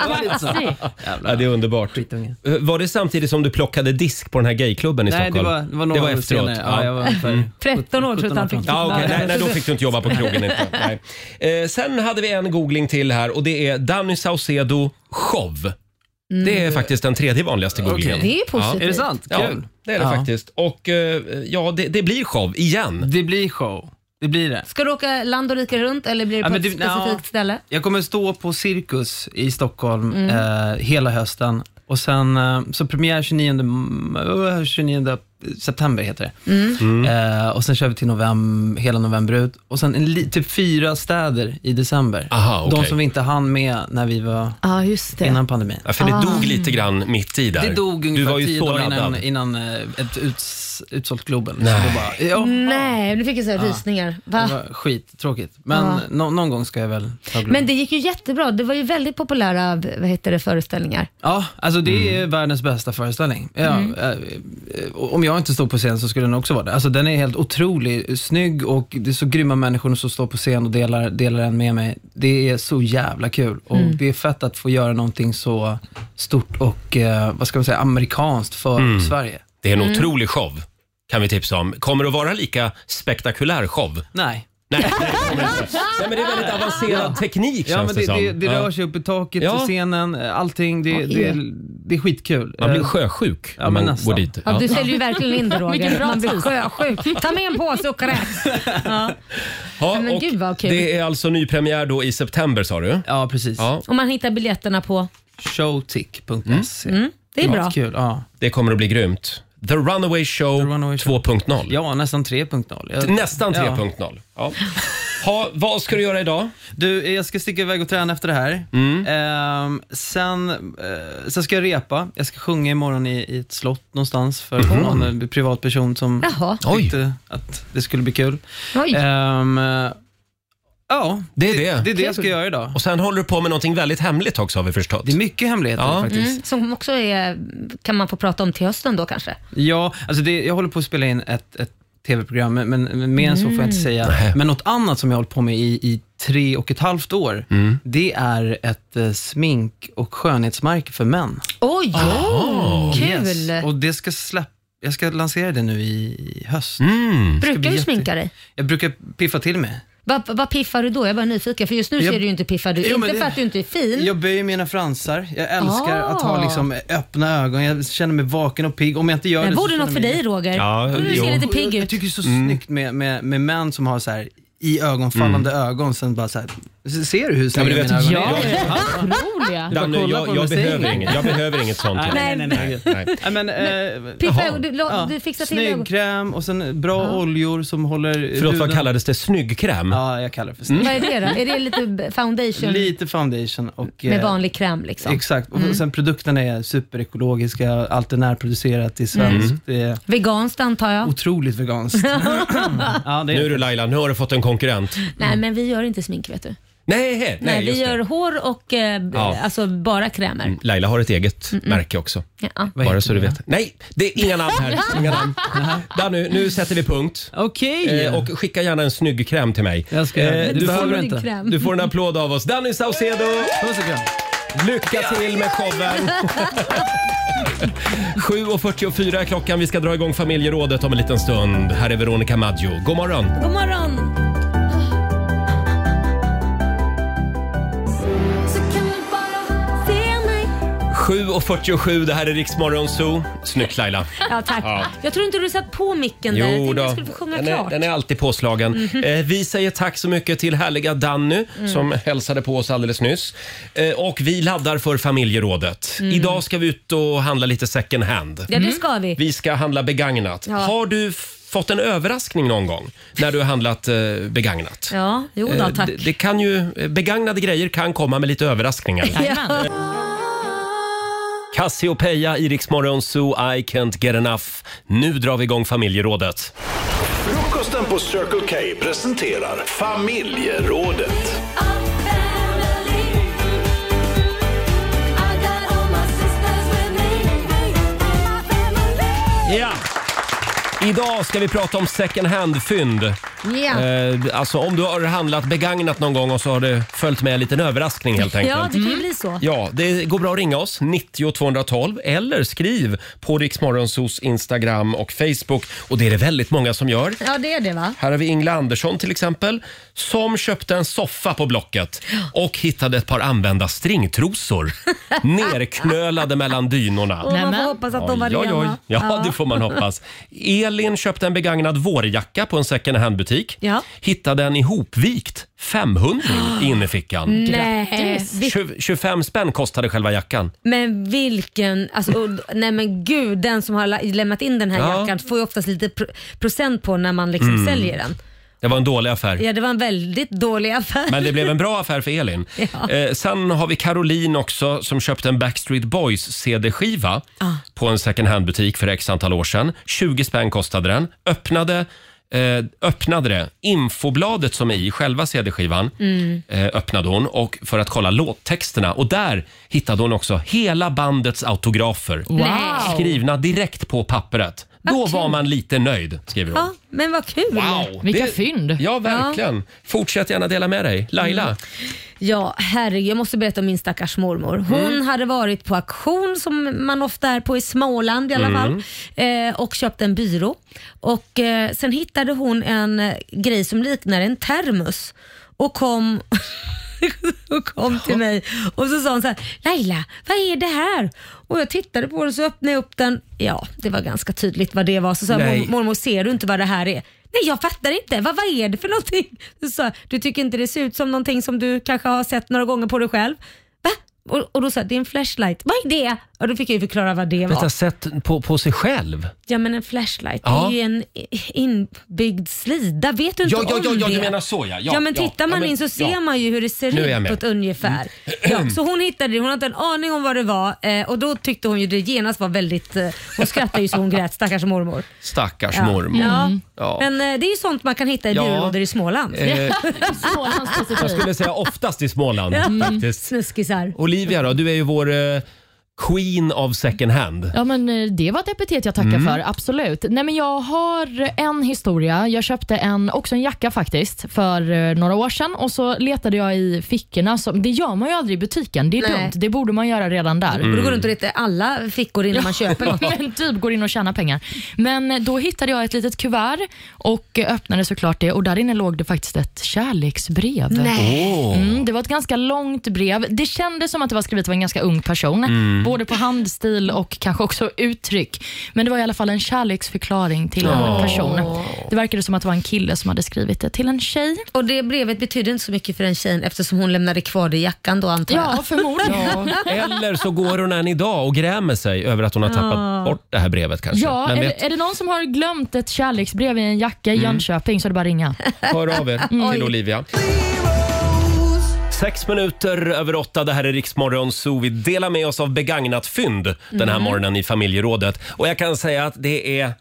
Speaker 15: Det var lite så.
Speaker 1: Ja, det är underbart. Eh, Var det samtidigt som du plockade disk på den här gayklubben i
Speaker 15: Nej,
Speaker 1: Stockholm?
Speaker 15: det var- det var några år
Speaker 1: efteråt.
Speaker 15: senare. Ja, jag var ungefär
Speaker 1: Mm.
Speaker 2: 13 år tror jag att han fick
Speaker 1: Ja, okej. nej, nej, då fick du inte jobba på krogen. Inte.
Speaker 2: Nej.
Speaker 1: Nej. Eh, sen hade vi en googling till här och det är Danny Saucedo show. Det är faktiskt den tredje vanligaste googlingen.
Speaker 15: Mm. Okej. Det är positivt.
Speaker 1: Ja.
Speaker 15: Är det sant?
Speaker 1: Ja,
Speaker 15: Kul.
Speaker 1: det är det
Speaker 15: Ja.
Speaker 1: faktiskt. Och eh, ja, det, det blir show igen.
Speaker 15: Det blir show. Det blir det.
Speaker 2: Ska du åka land och rike runt eller blir det
Speaker 15: Ja,
Speaker 2: på
Speaker 15: men
Speaker 2: ett
Speaker 15: du-
Speaker 2: specifikt
Speaker 15: ja.
Speaker 2: ställe?
Speaker 15: Jag kommer stå på Cirkus i Stockholm
Speaker 2: Mm.
Speaker 15: eh, hela hösten. Och sen, eh, så premiär 29, m- eh, 29 september heter det.
Speaker 2: Mm.
Speaker 15: Eh, och sen kör vi till november, hela november ut. Och sen en, li- typ fyra städer i december.
Speaker 1: Aha, okej.
Speaker 15: De som vi inte hann med när vi var
Speaker 2: Ja, just
Speaker 15: innan pandemin.
Speaker 1: Ja, för det dog lite grann mitt i där.
Speaker 15: Ah. Det dog ungefär
Speaker 1: du var ju
Speaker 15: tio
Speaker 1: så
Speaker 15: dagar
Speaker 1: laddad.
Speaker 15: innan, innan eh, ett uts, utsålt Globen.
Speaker 1: Nej.
Speaker 15: Så då bara, ja,
Speaker 2: Nej, nu fick jag så här
Speaker 15: Ja.
Speaker 2: rysningar.
Speaker 15: det
Speaker 2: Va?
Speaker 15: var skittråkigt. Men
Speaker 2: Ja.
Speaker 15: nå- någon gång ska jag väl ta Globen.
Speaker 2: Men det gick ju jättebra. Det var ju väldigt populära vad heter det, föreställningar.
Speaker 15: Ja, alltså det
Speaker 1: Mm.
Speaker 15: är världens bästa föreställning. Ja,
Speaker 2: Mm.
Speaker 15: eh, eh, om jag inte stod på scen så skulle den också vara det. Alltså den är helt otrolig, snygg och det är så grymma människor som står på scen och delar, delar den med mig. Det är så jävla kul och
Speaker 17: Mm.
Speaker 15: det är fett att få göra någonting så stort och, eh, vad ska man säga, amerikanskt för
Speaker 1: Mm.
Speaker 15: Sverige.
Speaker 1: Det är en otrolig show, kan vi tipsa om. Kommer att vara lika spektakulär
Speaker 15: Ah.
Speaker 1: show.
Speaker 15: Nej.
Speaker 1: Nej, Nej, men det är väldigt avancerad teknik
Speaker 15: Ja,
Speaker 1: känns
Speaker 15: men
Speaker 1: det
Speaker 15: det,
Speaker 1: som.
Speaker 15: det, det
Speaker 1: Ja.
Speaker 15: rör sig upp i taket,
Speaker 1: Ja.
Speaker 15: till scenen, eh, allting. Det,
Speaker 1: Vad
Speaker 15: det,
Speaker 1: är
Speaker 15: det, är skitkul.
Speaker 1: Man blir
Speaker 15: Eh,
Speaker 1: sjösjuk
Speaker 15: ja,
Speaker 1: när
Speaker 15: men
Speaker 1: man
Speaker 15: nästan.
Speaker 1: går dit.
Speaker 2: Ja, du säljer ju verkligen in det
Speaker 5: Vilken
Speaker 2: Roger.
Speaker 5: bra
Speaker 2: Man blir
Speaker 5: tid.
Speaker 2: sjösjuk. Ta med en påse och kräks. Ja.
Speaker 1: Ja,
Speaker 2: Men
Speaker 1: och
Speaker 2: gud vad kul.
Speaker 1: Det är alltså nypremiär då i september sa du?
Speaker 15: Ja, precis.
Speaker 1: Ja.
Speaker 2: Och man hittar biljetterna på...
Speaker 15: Showtick.se.
Speaker 2: Mm, det är bra.
Speaker 15: Kul, ja.
Speaker 1: Det kommer att bli grymt. The Runaway Show, 2.0.
Speaker 15: Ja, nästan 3.0. Jag-
Speaker 1: Nästan
Speaker 15: Ja.
Speaker 1: 3.0. Ja. Ha, vad ska du göra idag?
Speaker 15: Du, jag ska sticka iväg och träna efter det här.
Speaker 1: Mm.
Speaker 15: Ehm, sen, eh, sen ska jag repa. Jag ska sjunga imorgon i, i ett slott någonstans för
Speaker 1: Mhm.
Speaker 15: någon eh, privatperson som
Speaker 2: Jaha.
Speaker 15: Eh. tyckte att det skulle bli kul.
Speaker 2: Oj.
Speaker 15: Ehm, Ja,
Speaker 1: det är det.
Speaker 15: det är det jag ska göra idag.
Speaker 1: Och sen håller du på med någonting väldigt hemligt också har vi förstått. Det är
Speaker 15: mycket hemligheter
Speaker 2: Mm, som också är, kan man få prata om till hösten då kanske.
Speaker 15: Ja, alltså det, jag håller på att spela in ett, ett tv-program, men, men men mer än så får jag inte
Speaker 2: Mm.
Speaker 15: säga.
Speaker 2: Nej.
Speaker 15: Men något annat som jag har hållit på med i, i tre och ett halvt år,
Speaker 2: Mm.
Speaker 15: det är ett eh, smink och skönhetsmärke för män.
Speaker 2: Oj, kul!
Speaker 15: oh, Yes. Och det ska släpp, jag ska lansera det nu i höst.
Speaker 2: Mm.
Speaker 15: Det ska bli
Speaker 2: Brukar du
Speaker 15: jätte-
Speaker 2: sminka dig?
Speaker 15: Jag brukar piffa till mig.
Speaker 2: Vad vad piffar du då? Jag var nyfiken för just nu
Speaker 15: Jag-
Speaker 2: ser du ju inte piffad ut.
Speaker 15: Jo, men
Speaker 2: Inte
Speaker 15: det-
Speaker 2: för att du inte är fin.
Speaker 15: Jag böjer mina fransar. Jag älskar
Speaker 2: Ah.
Speaker 15: att ha liksom öppna ögon. Jag känner mig vaken och pigg. Om jag inte gör
Speaker 2: Det
Speaker 15: det,
Speaker 2: här
Speaker 15: så
Speaker 2: vore
Speaker 15: känner
Speaker 2: något för
Speaker 15: jag mig-
Speaker 2: dig Roger.
Speaker 1: Ja,
Speaker 2: Kommer du
Speaker 1: jo. Mm.
Speaker 2: ser lite pigg ut.
Speaker 15: Jag tycker det är så snyggt med, med, med män som har så här i ögonfallande ögon, sen bara så här, ser du hur
Speaker 1: Mm. Ja,
Speaker 15: snygga
Speaker 1: men du vet-
Speaker 15: mina ögon
Speaker 1: Ja.
Speaker 15: är?
Speaker 5: Otroliga.
Speaker 1: Danne,
Speaker 15: kolla på
Speaker 1: jag,
Speaker 15: dem
Speaker 1: jag,
Speaker 15: och säg
Speaker 1: behöver
Speaker 15: inget.
Speaker 1: inget, jag behöver inget sånt.
Speaker 15: Nej, nej, nej, nej. Nej, men, eh,
Speaker 2: Pippa,
Speaker 15: jaha.
Speaker 2: du la- du fixar till ögon.
Speaker 15: Snygg kräm och sen bra oljor som håller
Speaker 1: Förlåt, vad kallades det? Snyggkräm?
Speaker 15: Ja, jag kallar det för snygg.
Speaker 2: Vad är det då? Är det lite b- foundation
Speaker 15: Lite foundation och...
Speaker 2: Mm. med
Speaker 15: eh,
Speaker 2: vanlig kräm liksom?
Speaker 15: Exakt. Och
Speaker 2: Mm.
Speaker 15: sen produkterna är superekologiska, allt är närproducerat, det är
Speaker 1: Mm.
Speaker 15: svenskt. Det är
Speaker 2: Veganskt antar jag.
Speaker 15: otroligt veganskt.
Speaker 1: Nu du Laila, nu har du fått en konkurrent.
Speaker 2: Nej men vi gör inte smink vet du. Nej,
Speaker 1: Mm. Nej, nej, nej
Speaker 2: vi
Speaker 1: just det.
Speaker 2: gör hår och eh, b-
Speaker 1: Ja. Mm.
Speaker 2: alltså bara krämer.
Speaker 1: Laila har ett eget märke också.
Speaker 2: Ja.
Speaker 1: Bara så du vet. Nej, det är inga namn här. Inga namn. Danny, nu sätter vi punkt.
Speaker 15: Okej.
Speaker 1: Eh, och skicka gärna en snygg kräm till mig. Jag
Speaker 15: ska göra det.
Speaker 1: Eh, du,
Speaker 15: Det
Speaker 1: får,
Speaker 15: behöver du inte.
Speaker 1: du får en applåd av oss. Danny Saucedo!
Speaker 15: Puss och kram.
Speaker 1: Lycka till med showen! 7.44 är klockan. Vi ska dra igång familjerådet om en liten stund. Här är Veronica Maggio. God morgon!
Speaker 2: God morgon!
Speaker 6: Så kan du bara se mig
Speaker 1: 7.47, det här är Riksmorgon Zoo. Snyggt Laila!
Speaker 2: Ja, tack.
Speaker 1: Ja.
Speaker 2: Jag tror inte du satt på micken där. Jag
Speaker 1: Jo
Speaker 2: tänkte jag
Speaker 1: då.
Speaker 2: skulle få sjunga
Speaker 1: Den är,
Speaker 2: klart.
Speaker 1: den är alltid påslagen.
Speaker 2: Mhm.
Speaker 1: Eh, vi säger tack så mycket till härliga Danny
Speaker 2: Mm.
Speaker 1: som hälsade på oss alldeles nyss. Eh, och vi laddar för familjerådet.
Speaker 2: Mm.
Speaker 1: Idag ska vi ut och handla lite second hand.
Speaker 2: Ja, det ska vi.
Speaker 1: Mm. Vi ska handla begagnat.
Speaker 2: Ja.
Speaker 1: Har du f- fått en överraskning någon gång när du har handlat eh, begagnat?
Speaker 2: Ja, jo då,
Speaker 1: Eh,
Speaker 2: tack.
Speaker 1: Det, det kan ju, eh, begagnade grejer kan komma med lite överraskningar.
Speaker 2: Ja.
Speaker 1: Cassiopeia, i Rix Morgon Zoo, I can't get enough. Nu drar vi igång familjerådet.
Speaker 3: Frukosten på Circle K presenterar Familjerådet.
Speaker 1: Ja! Idag ska vi prata om second hand-fynd.
Speaker 2: Ja.
Speaker 1: Eh, alltså om du har handlat begagnat någon gång och så har det följt med en liten överraskning helt enkelt.
Speaker 2: Ja, det kan ju bli så.
Speaker 1: Ja, det går bra att ringa oss, 90 212 eller skriv på Riksmorgonsos Instagram och Facebook. Och det är det väldigt många som gör.
Speaker 2: Ja, det är det va?
Speaker 1: Här har vi Ingla Andersson till exempel som köpte en soffa på Blocket och hittade ett par använda stringtrosor nerknölade mellan dynorna.
Speaker 2: Och man får hoppas att de var
Speaker 1: Oj, oj, oj.
Speaker 2: rena.
Speaker 1: Ja, det får man hoppas. Elin köpte en begagnad vårjacka på en second hand-butik.
Speaker 2: Ja.
Speaker 1: Hittade en ihopvikt 500 i
Speaker 2: Mm.
Speaker 1: innerfickan.
Speaker 2: Nej, vi-
Speaker 1: Tju- 25 spänn kostade själva jackan.
Speaker 2: men vilken... Alltså, och- nej men gud, den som har la- lämnat in den här
Speaker 1: Ja.
Speaker 2: jackan får ju oftast lite pro- procent på när man liksom
Speaker 1: Mm.
Speaker 2: säljer den.
Speaker 1: Det var en dålig affär.
Speaker 2: Ja, det var en väldigt dålig affär.
Speaker 1: Men det blev en bra affär för Elin.
Speaker 2: Ja.
Speaker 1: Eh, sen har vi Caroline också som köpte en Backstreet Boys CD-skiva
Speaker 2: Ah.
Speaker 1: på en second hand-butik för x antal år sedan. 20 spänn kostade den. Öppnade, eh, öppnade det. Infobladet som är i själva CD-skivan
Speaker 2: Mm.
Speaker 1: eh, öppnade hon och för att kolla låttexterna. Och där hittade hon också hela bandets autografer.
Speaker 2: Nej.
Speaker 1: Skrivna direkt på pappret. Då var man lite nöjd, skriver hon.
Speaker 2: Ja, men vad kul.
Speaker 1: Wow! Det- Ja, verkligen. Fortsätt gärna dela med dig. Laila?
Speaker 2: Ja, herregud. Jag måste berätta om min stackars mormor. Hon
Speaker 1: Mm.
Speaker 2: hade varit på auktion som man ofta är på i Småland i alla
Speaker 1: Mm.
Speaker 2: fall eh, och köpt en byrå. Och, eh, sen hittade hon en eh, grej som liknar en termos och kom och kom till mig och så sa hon så här, Laila, vad är det här? Och jag tittade på den så öppnade jag upp den. Ja, det var ganska tydligt vad det var. Så sa jag,
Speaker 14: Nej.
Speaker 2: "Mor- mormor, ser du inte vad det här är? Nej, jag fattar inte. Vad, vad är det för någonting? Så sa jag, du tycker inte det ser ut som någonting som du kanske har sett några gånger på dig själv? Va? Och, och då sa jag, det är en flashlight. Vad är det? Och då fick jag ju förklara vad det
Speaker 1: Detta
Speaker 2: var.
Speaker 1: sätt på, på sig själv.
Speaker 2: Ja men en flashlight,
Speaker 1: Ja.
Speaker 2: det är ju en i- inbyggd slida. Vet du inte
Speaker 1: Ja, ja,
Speaker 2: om
Speaker 1: ja, ja,
Speaker 2: det?
Speaker 1: du menar så, ja. Ja,
Speaker 2: men
Speaker 1: ja.
Speaker 2: tittar man
Speaker 1: Ja, men-
Speaker 2: in så ser
Speaker 1: ja.
Speaker 2: man ju hur det
Speaker 1: Nu är
Speaker 2: ser
Speaker 1: jag
Speaker 2: ut
Speaker 1: med. Mm.
Speaker 2: på ett ungefär. Ja, så hon hittade det, hon hade inte en aning om vad det var eh, och då tyckte hon ju det genast var väldigt... eh, Hon skrattade ju så hon grät, stackars mormor.
Speaker 1: Stackars
Speaker 2: Ja.
Speaker 1: mormor.
Speaker 2: Ja.
Speaker 1: Ja.
Speaker 2: Men eh, det är ju sånt man kan hitta i
Speaker 1: Ja.
Speaker 2: byrålådor i Småland.
Speaker 1: Eh,
Speaker 2: Småland
Speaker 1: Jag skulle säga oftast i Småland faktiskt.
Speaker 2: Snuskisar.
Speaker 1: Olivia då, du är ju vår eh, queen of second hand.
Speaker 5: Ja, men eh, det var ett epitet jag tackar
Speaker 1: Mm.
Speaker 5: för, absolut. Nej, men jag har en historia. Jag köpte en, också en jacka faktiskt för eh, några år sedan och så letade jag i fickorna. Som, det gör man ju aldrig i butiken. Det är
Speaker 2: Nej.
Speaker 5: dumt. Det borde man göra redan där.
Speaker 2: Mm. Och då går du inte och letar i alla fickor innan man köper något.
Speaker 5: Men typ går in och tjänar pengar. Men eh, då hittade jag ett litet kuvert och eh, öppnade såklart det och där inne låg det faktiskt ett kärleksbrev.
Speaker 6: Nej. Åh.
Speaker 5: Mm, det var ett ganska långt brev. Det kändes som att det var skrivet av en ganska ung person,
Speaker 6: Mm.
Speaker 5: både på handstil och kanske också uttryck. Men det var i alla fall en kärleksförklaring till
Speaker 6: Åh.
Speaker 5: en person. Det verkade som att det var en kille som hade skrivit det till en tjej.
Speaker 2: Och det brevet betydde inte så mycket för den tjejen eftersom hon lämnade kvar det i jackan då antar jag.
Speaker 5: Ja, förmodligen.
Speaker 1: Eller så går hon än idag och grämer sig över att hon har tappat
Speaker 5: Ja.
Speaker 1: bort det här brevet kanske.
Speaker 5: Ja,
Speaker 1: Men
Speaker 5: är,
Speaker 1: vet,
Speaker 5: är det någon som har glömt ett kärleksbrev i en jacka i
Speaker 1: Mm.
Speaker 5: Jönköping så är det bara att ringa.
Speaker 1: hör av er
Speaker 5: Mm.
Speaker 1: till Olivia. Sex minuter över åtta, det här är Riksmorgon Zoo. Vi delar med oss av begagnat fynd den här
Speaker 2: Mm.
Speaker 1: morgonen i familjerådet. Och jag kan säga att det är,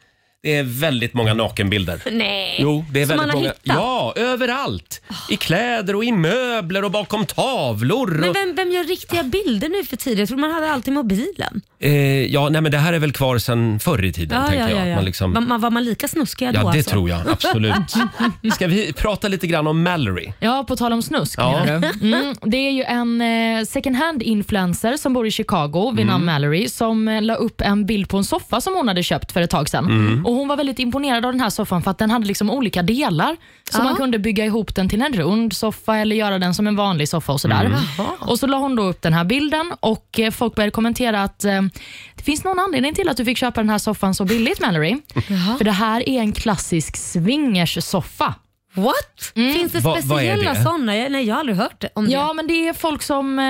Speaker 1: det är väldigt många nakenbilder.
Speaker 2: Nej.
Speaker 1: Jo, det är
Speaker 2: Som man
Speaker 1: väldigt
Speaker 2: har
Speaker 1: många.
Speaker 2: hittat. Ah.
Speaker 1: Ja, överallt. I kläder och i möbler och bakom tavlor.
Speaker 2: Men
Speaker 1: och...
Speaker 2: vem, vem gör riktiga bilder nu för tiden? Jag tror man hade alltid mobilen.
Speaker 1: Eh, ja, nej men det här är väl kvar sedan förr i tiden, tänker jag. Att Man liksom...
Speaker 2: Var- man- var man lika snuskig då
Speaker 1: Ja, det
Speaker 2: alltså?
Speaker 1: tror jag. Absolut. Ska vi prata lite grann om Mallory?
Speaker 5: Ja, på tal om snusk
Speaker 1: Ja.
Speaker 5: menar du? Mm, det är ju en eh, second hand-influencer som bor i Chicago
Speaker 6: Mm.
Speaker 5: vid namn Mallory som eh, la upp en bild på en soffa som hon hade köpt för ett tag sedan.
Speaker 6: Mm.
Speaker 5: Och hon var väldigt imponerad av den här soffan för att den hade liksom olika delar. Så
Speaker 6: Ja.
Speaker 5: man kunde bygga ihop den till en rund soffa eller göra den som en vanlig soffa och sådär.
Speaker 6: Mm.
Speaker 5: Och så la hon då upp den här bilden och eh, folk började kommentera att eh, det finns någon anledning till att du fick köpa den här soffan så billigt Mallory. För det här är en klassisk swingers-soffa.
Speaker 2: What?
Speaker 1: Mm.
Speaker 2: Finns det
Speaker 5: Va- vad är
Speaker 2: speciella
Speaker 5: det?
Speaker 2: sådana? Jag- Nej, jag har aldrig hört det- om det.
Speaker 5: Ja, men det är folk som eh,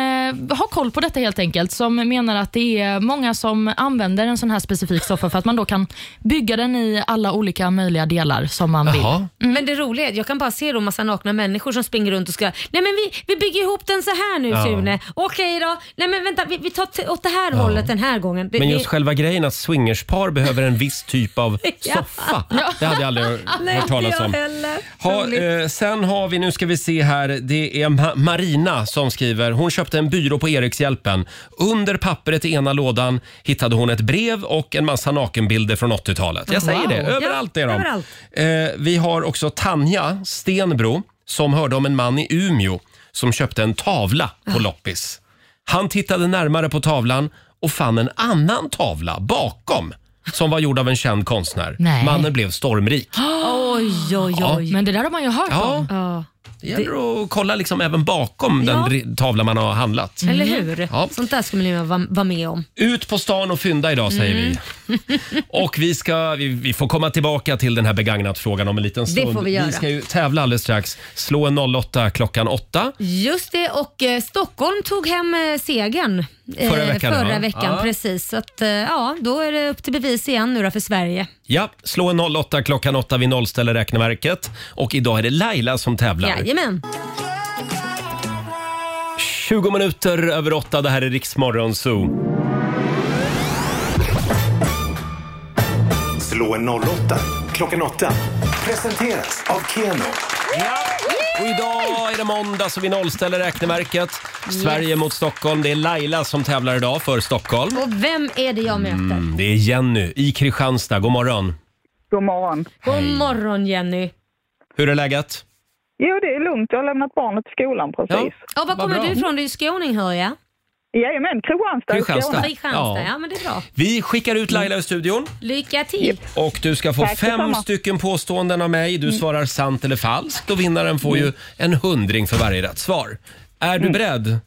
Speaker 5: har koll på detta helt enkelt, som menar att det är många som använder en sån här specifik soffa för att man då kan bygga den i alla olika möjliga delar som man vill.
Speaker 2: Men det roliga är att jag kan bara se då massa nakna människor som springer runt och ska Nej men vi, vi bygger ihop den så här nu
Speaker 1: Ja.
Speaker 2: Sune. Okej då. Nej men vänta, vi, vi tar t- åt det här
Speaker 1: Ja.
Speaker 2: hållet den här gången. Det,
Speaker 1: Men just
Speaker 2: det-
Speaker 1: själva grejen att swingerspar behöver en viss typ av
Speaker 2: Ja.
Speaker 1: soffa.
Speaker 2: Ja.
Speaker 1: Det hade jag aldrig
Speaker 2: Nej,
Speaker 1: hört talas
Speaker 2: jag
Speaker 1: om.
Speaker 2: heller.
Speaker 1: Ha,
Speaker 2: Roligt.
Speaker 1: eh, sen har vi, nu ska vi se här, det är Ma- Marina som skriver. Hon köpte en byrå på Erikshjälpen. Under pappret i ena lådan hittade hon ett brev och en massa nakenbilder från 80-talet. Jag säger
Speaker 6: Wow.
Speaker 1: det,
Speaker 6: Ja,
Speaker 1: överallt är de.
Speaker 6: överallt.
Speaker 1: Eh, vi har också Tanja Stenbro som hörde om en man i Umeå som köpte en tavla på loppis. Han tittade närmare på tavlan och fann en annan tavla bakom som var gjord av en känd konstnär.
Speaker 5: Nej.
Speaker 1: Mannen blev stormrik.
Speaker 2: Oj, oj,
Speaker 1: Ja.
Speaker 5: oj. Men det där har man ju hört
Speaker 1: Ja.
Speaker 5: om.
Speaker 1: Det gäller att kolla liksom även bakom den dri- tavla man har handlat.
Speaker 2: Eller hur?
Speaker 1: Ja.
Speaker 2: Sånt där ska man ju vara vara med om.
Speaker 1: Ut på stan och fynda idag säger vi.
Speaker 2: Mm.
Speaker 1: Och vi, ska, vi, vi får komma tillbaka till den här begagnat-frågan om en liten
Speaker 2: Det
Speaker 1: stund.
Speaker 2: får vi göra.
Speaker 1: ska ju tävla alldeles strax. Slå en 08 klockan 8.
Speaker 2: Just det, och eh, Stockholm tog hem eh, segern eh,
Speaker 1: Förra veckan,
Speaker 2: förra
Speaker 1: ja.
Speaker 2: veckan
Speaker 1: Ja.
Speaker 2: precis. Så att, eh, ja, då är det upp till bevis igen nu då för Sverige.
Speaker 1: Ja, slå en 08 klockan 8. Vi nollställer räkneverket. Och idag är det Laila som tävlar.
Speaker 2: Jajamän.
Speaker 1: 20 minuter över 8. Det här är Riksmorgon Zoo.
Speaker 3: Slå en 08 klockan 8. Presenteras av Keno.
Speaker 1: Och idag är det måndag så vi nollställer räkneverket. Sverige mot Stockholm. Det är Laila som tävlar idag för Stockholm.
Speaker 2: Och vem är det jag möter?
Speaker 1: Mm, det är Jenny i Kristianstad. God morgon.
Speaker 2: God morgon. God morgon Jenny.
Speaker 1: Hur är läget?
Speaker 13: Jo, det är lugnt. Jag har lämnat barnet i skolan precis.
Speaker 2: Ja, var kommer du ifrån? Du är ju skåning hör jag.
Speaker 13: Jajamän, Kristianstad.
Speaker 1: Kristianstad.
Speaker 2: Kristianstad,
Speaker 1: Ja.
Speaker 2: ja. men det är bra.
Speaker 1: Vi skickar ut Laila ur studion
Speaker 2: Lycka till.
Speaker 1: och du ska få
Speaker 2: Tack
Speaker 1: fem
Speaker 2: detsamma. Mm.
Speaker 1: stycken påståenden av mig. Du svarar sant eller falskt och vinnaren får ju en hundring för varje rätt svar. Är
Speaker 2: Mm.
Speaker 1: du beredd?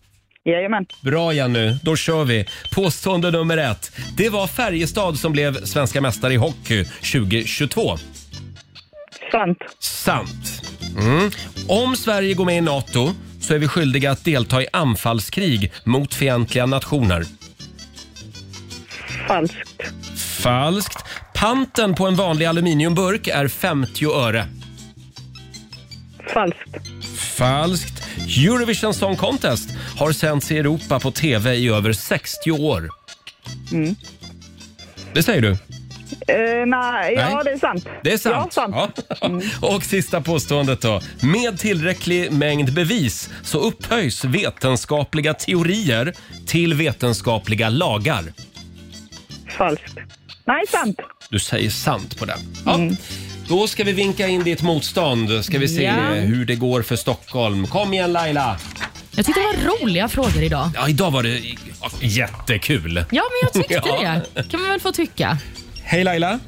Speaker 13: Jajamän.
Speaker 1: Bra Jenny, då kör vi. Påstående nummer ett. Det var Färjestad som blev svenska mästare i hockey 2022. Sant. Sant. Mm. Om Sverige går med i NATO så är vi skyldiga att delta i anfallskrig mot fientliga nationer?
Speaker 13: Falskt.
Speaker 1: Falskt. Panten på en vanlig aluminiumburk är 50 öre.
Speaker 13: Falskt.
Speaker 1: Falskt. Eurovision Song Contest har sänts i Europa på TV i över 60 år.
Speaker 13: Mm.
Speaker 1: Det säger du?
Speaker 13: Eh, nej, ja
Speaker 1: Nej.
Speaker 13: det är sant.
Speaker 1: Det är sant.
Speaker 13: Ja, sant. Mm.
Speaker 1: Ja. Och sista påståendet då. Med tillräcklig mängd bevis så upphöjs vetenskapliga teorier till vetenskapliga lagar.
Speaker 13: Falskt. Nej, sant.
Speaker 1: Du säger sant på den. Ja.
Speaker 13: Mm.
Speaker 1: Då ska vi vinka in ditt motstånd. Ska vi se eh,
Speaker 5: Ja.
Speaker 1: hur det går för Stockholm. Kom igen Laila!
Speaker 5: Jag tyckte det var roliga frågor idag.
Speaker 1: Ja, idag var det ja, jättekul.
Speaker 5: Ja, men jag tyckte
Speaker 1: Ja.
Speaker 5: det. kan man väl få tycka.
Speaker 1: Hej Laila!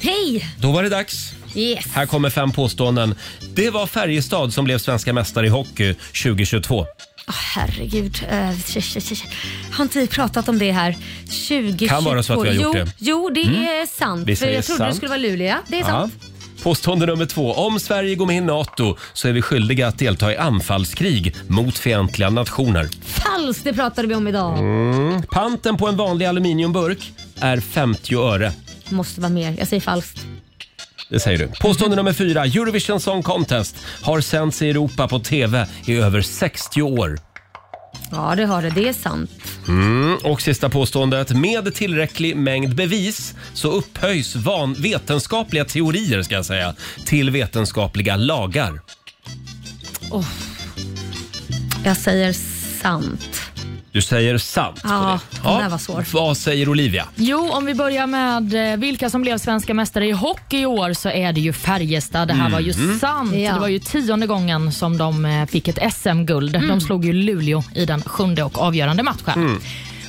Speaker 2: Hej!
Speaker 1: Då var det dags.
Speaker 2: Yes.
Speaker 1: Här kommer fem påståenden. Det var Färjestad som blev svenska mästare i hockey 2022.
Speaker 2: Åh, herregud. Eh, tj- tj- tj- tj. Har inte vi pratat om det här? 2022.
Speaker 1: Kan vara så att vi har gjort
Speaker 2: jo,
Speaker 1: det.
Speaker 2: Jo, det
Speaker 1: Mm.
Speaker 2: är sant.
Speaker 1: Vi
Speaker 2: För
Speaker 1: säger
Speaker 2: jag trodde
Speaker 1: sant.
Speaker 2: det skulle vara Luleå. Det är sant.
Speaker 1: Ja. Påstående nummer två. Om Sverige går med i NATO så är vi skyldiga att delta i anfallskrig mot fientliga nationer.
Speaker 2: Falskt, det pratade vi om idag.
Speaker 1: Mm. Panten på en vanlig aluminiumburk är 50 öre.
Speaker 2: Måste vara mer. Jag säger falskt.
Speaker 1: Det säger du. Påstående nummer fyra. Eurovision Song Contest har sänts i Europa på TV i över 60 år.
Speaker 2: Ja, det har det. Det är sant.
Speaker 1: Mm. Och sista påståendet. Med tillräcklig mängd bevis så upphöjs van- vetenskapliga teorier ska jag säga, till vetenskapliga lagar.
Speaker 2: Åh. Jag säger sant.
Speaker 1: Du säger sant.
Speaker 5: Ja,
Speaker 1: Ja, Vad säger Olivia?
Speaker 5: Jo, om vi börjar med eh, vilka som blev svenska mästare i hockey i år så är det ju Färjestad. Det här var ju
Speaker 6: Mm.
Speaker 5: sant.
Speaker 6: Ja.
Speaker 5: Det var ju tionde gången som de eh, fick ett SM-guld.
Speaker 6: Mm.
Speaker 5: De slog ju Luleå i den sjunde och avgörande matchen.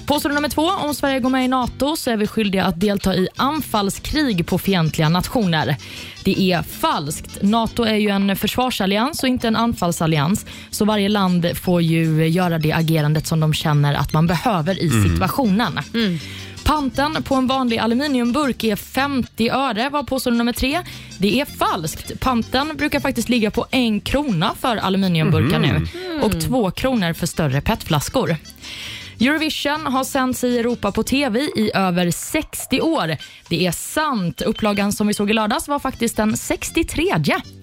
Speaker 5: Påstående nummer två. Om Sverige går med i NATO så är vi skyldiga att delta i anfallskrig på fientliga nationer. Det är falskt. NATO är ju en försvarsallians och inte en anfallsallians. Så varje land får ju göra det agerandet som de känner att man behöver i
Speaker 6: Mm.
Speaker 5: situationen. Panten på en vanlig aluminiumburk är 50 öre, var påstående nummer tre. Det är falskt. Panten brukar faktiskt ligga på en krona för aluminiumburkar
Speaker 6: Mhm.
Speaker 5: nu och två kronor för större petflaskor. Eurovision har sänts i Europa på TV i över 60 år. Det är sant. Upplagan som vi såg i lördags var faktiskt den 63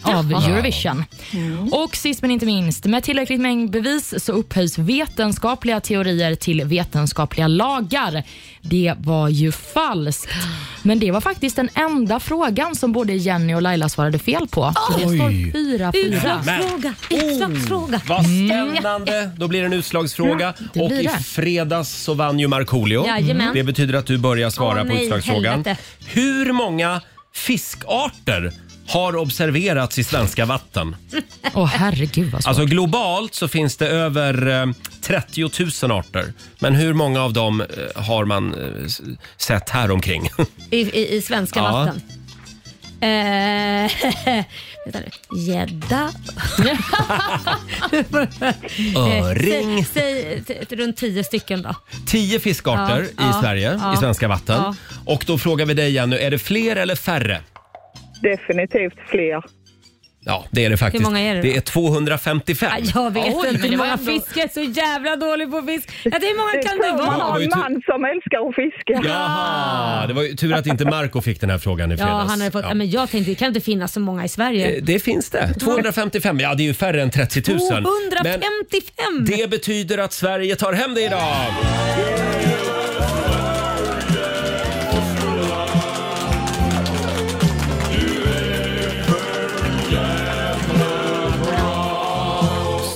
Speaker 5: av
Speaker 6: Jaha.
Speaker 5: Eurovision. Och sist men inte minst, med tillräckligt mängd bevis så upphöjs vetenskapliga teorier till vetenskapliga lagar. Det var ju falskt. Men det var faktiskt den enda frågan som både Jenny och Laila svarade fel på. Så det
Speaker 1: Oj.
Speaker 5: står 4-4.
Speaker 2: Utslagsfråga. Utslagsfråga.
Speaker 1: Oh. Vad spännande! Då blir det en utslagsfråga.
Speaker 2: Mm. Ja, det
Speaker 1: och
Speaker 2: blir
Speaker 1: i
Speaker 2: det.
Speaker 1: fredags så vann ju Markoolio.
Speaker 2: Jajamän.
Speaker 1: Det betyder att du börjar svara
Speaker 2: Åh,
Speaker 1: på
Speaker 2: nej,
Speaker 1: utslagsfrågan.
Speaker 2: helvete.
Speaker 1: Hur många fiskarter har observerats i svenska vatten?
Speaker 5: Åh herregud vad svårt.
Speaker 1: Alltså globalt så finns det över eh, 30 000 arter. Men hur många av dem eh, har man eh, s- sett här omkring?
Speaker 2: I, i, i svenska
Speaker 1: Ja.
Speaker 2: vatten. Eh, vänta nu. Gädda.
Speaker 1: Öring.
Speaker 2: Eh, Säg, säg t- runt tio stycken då.
Speaker 1: Tio fiskarter
Speaker 2: Ja,
Speaker 1: i
Speaker 2: ja,
Speaker 1: Sverige,
Speaker 2: ja,
Speaker 1: i svenska vatten.
Speaker 2: ja.
Speaker 1: Och då frågar vi dig Jenny, är det fler eller färre?
Speaker 13: Definitivt fler.
Speaker 1: Ja, det är det faktiskt.
Speaker 2: många är det då? Ah,
Speaker 1: är 255.
Speaker 2: Jag vet
Speaker 13: Oj,
Speaker 2: inte
Speaker 13: men det
Speaker 2: hur
Speaker 13: var
Speaker 2: många
Speaker 13: ändå-
Speaker 2: fisk jag är så jävla dålig på fisk. Jag hur många kan
Speaker 13: tror
Speaker 2: det
Speaker 13: man har
Speaker 2: vara?
Speaker 13: en man som älskar att fiska.
Speaker 1: Jaha, det var ju tur att inte Marco fick den här frågan i
Speaker 2: Ja,
Speaker 1: fredags.
Speaker 2: han hade fått, ja. men jag tänkte det kan inte finnas så många i Sverige.
Speaker 1: Eh, Det finns det. 255, ja det är ju färre än 30 000. Men
Speaker 2: 255!
Speaker 1: det betyder att Sverige tar hem det idag.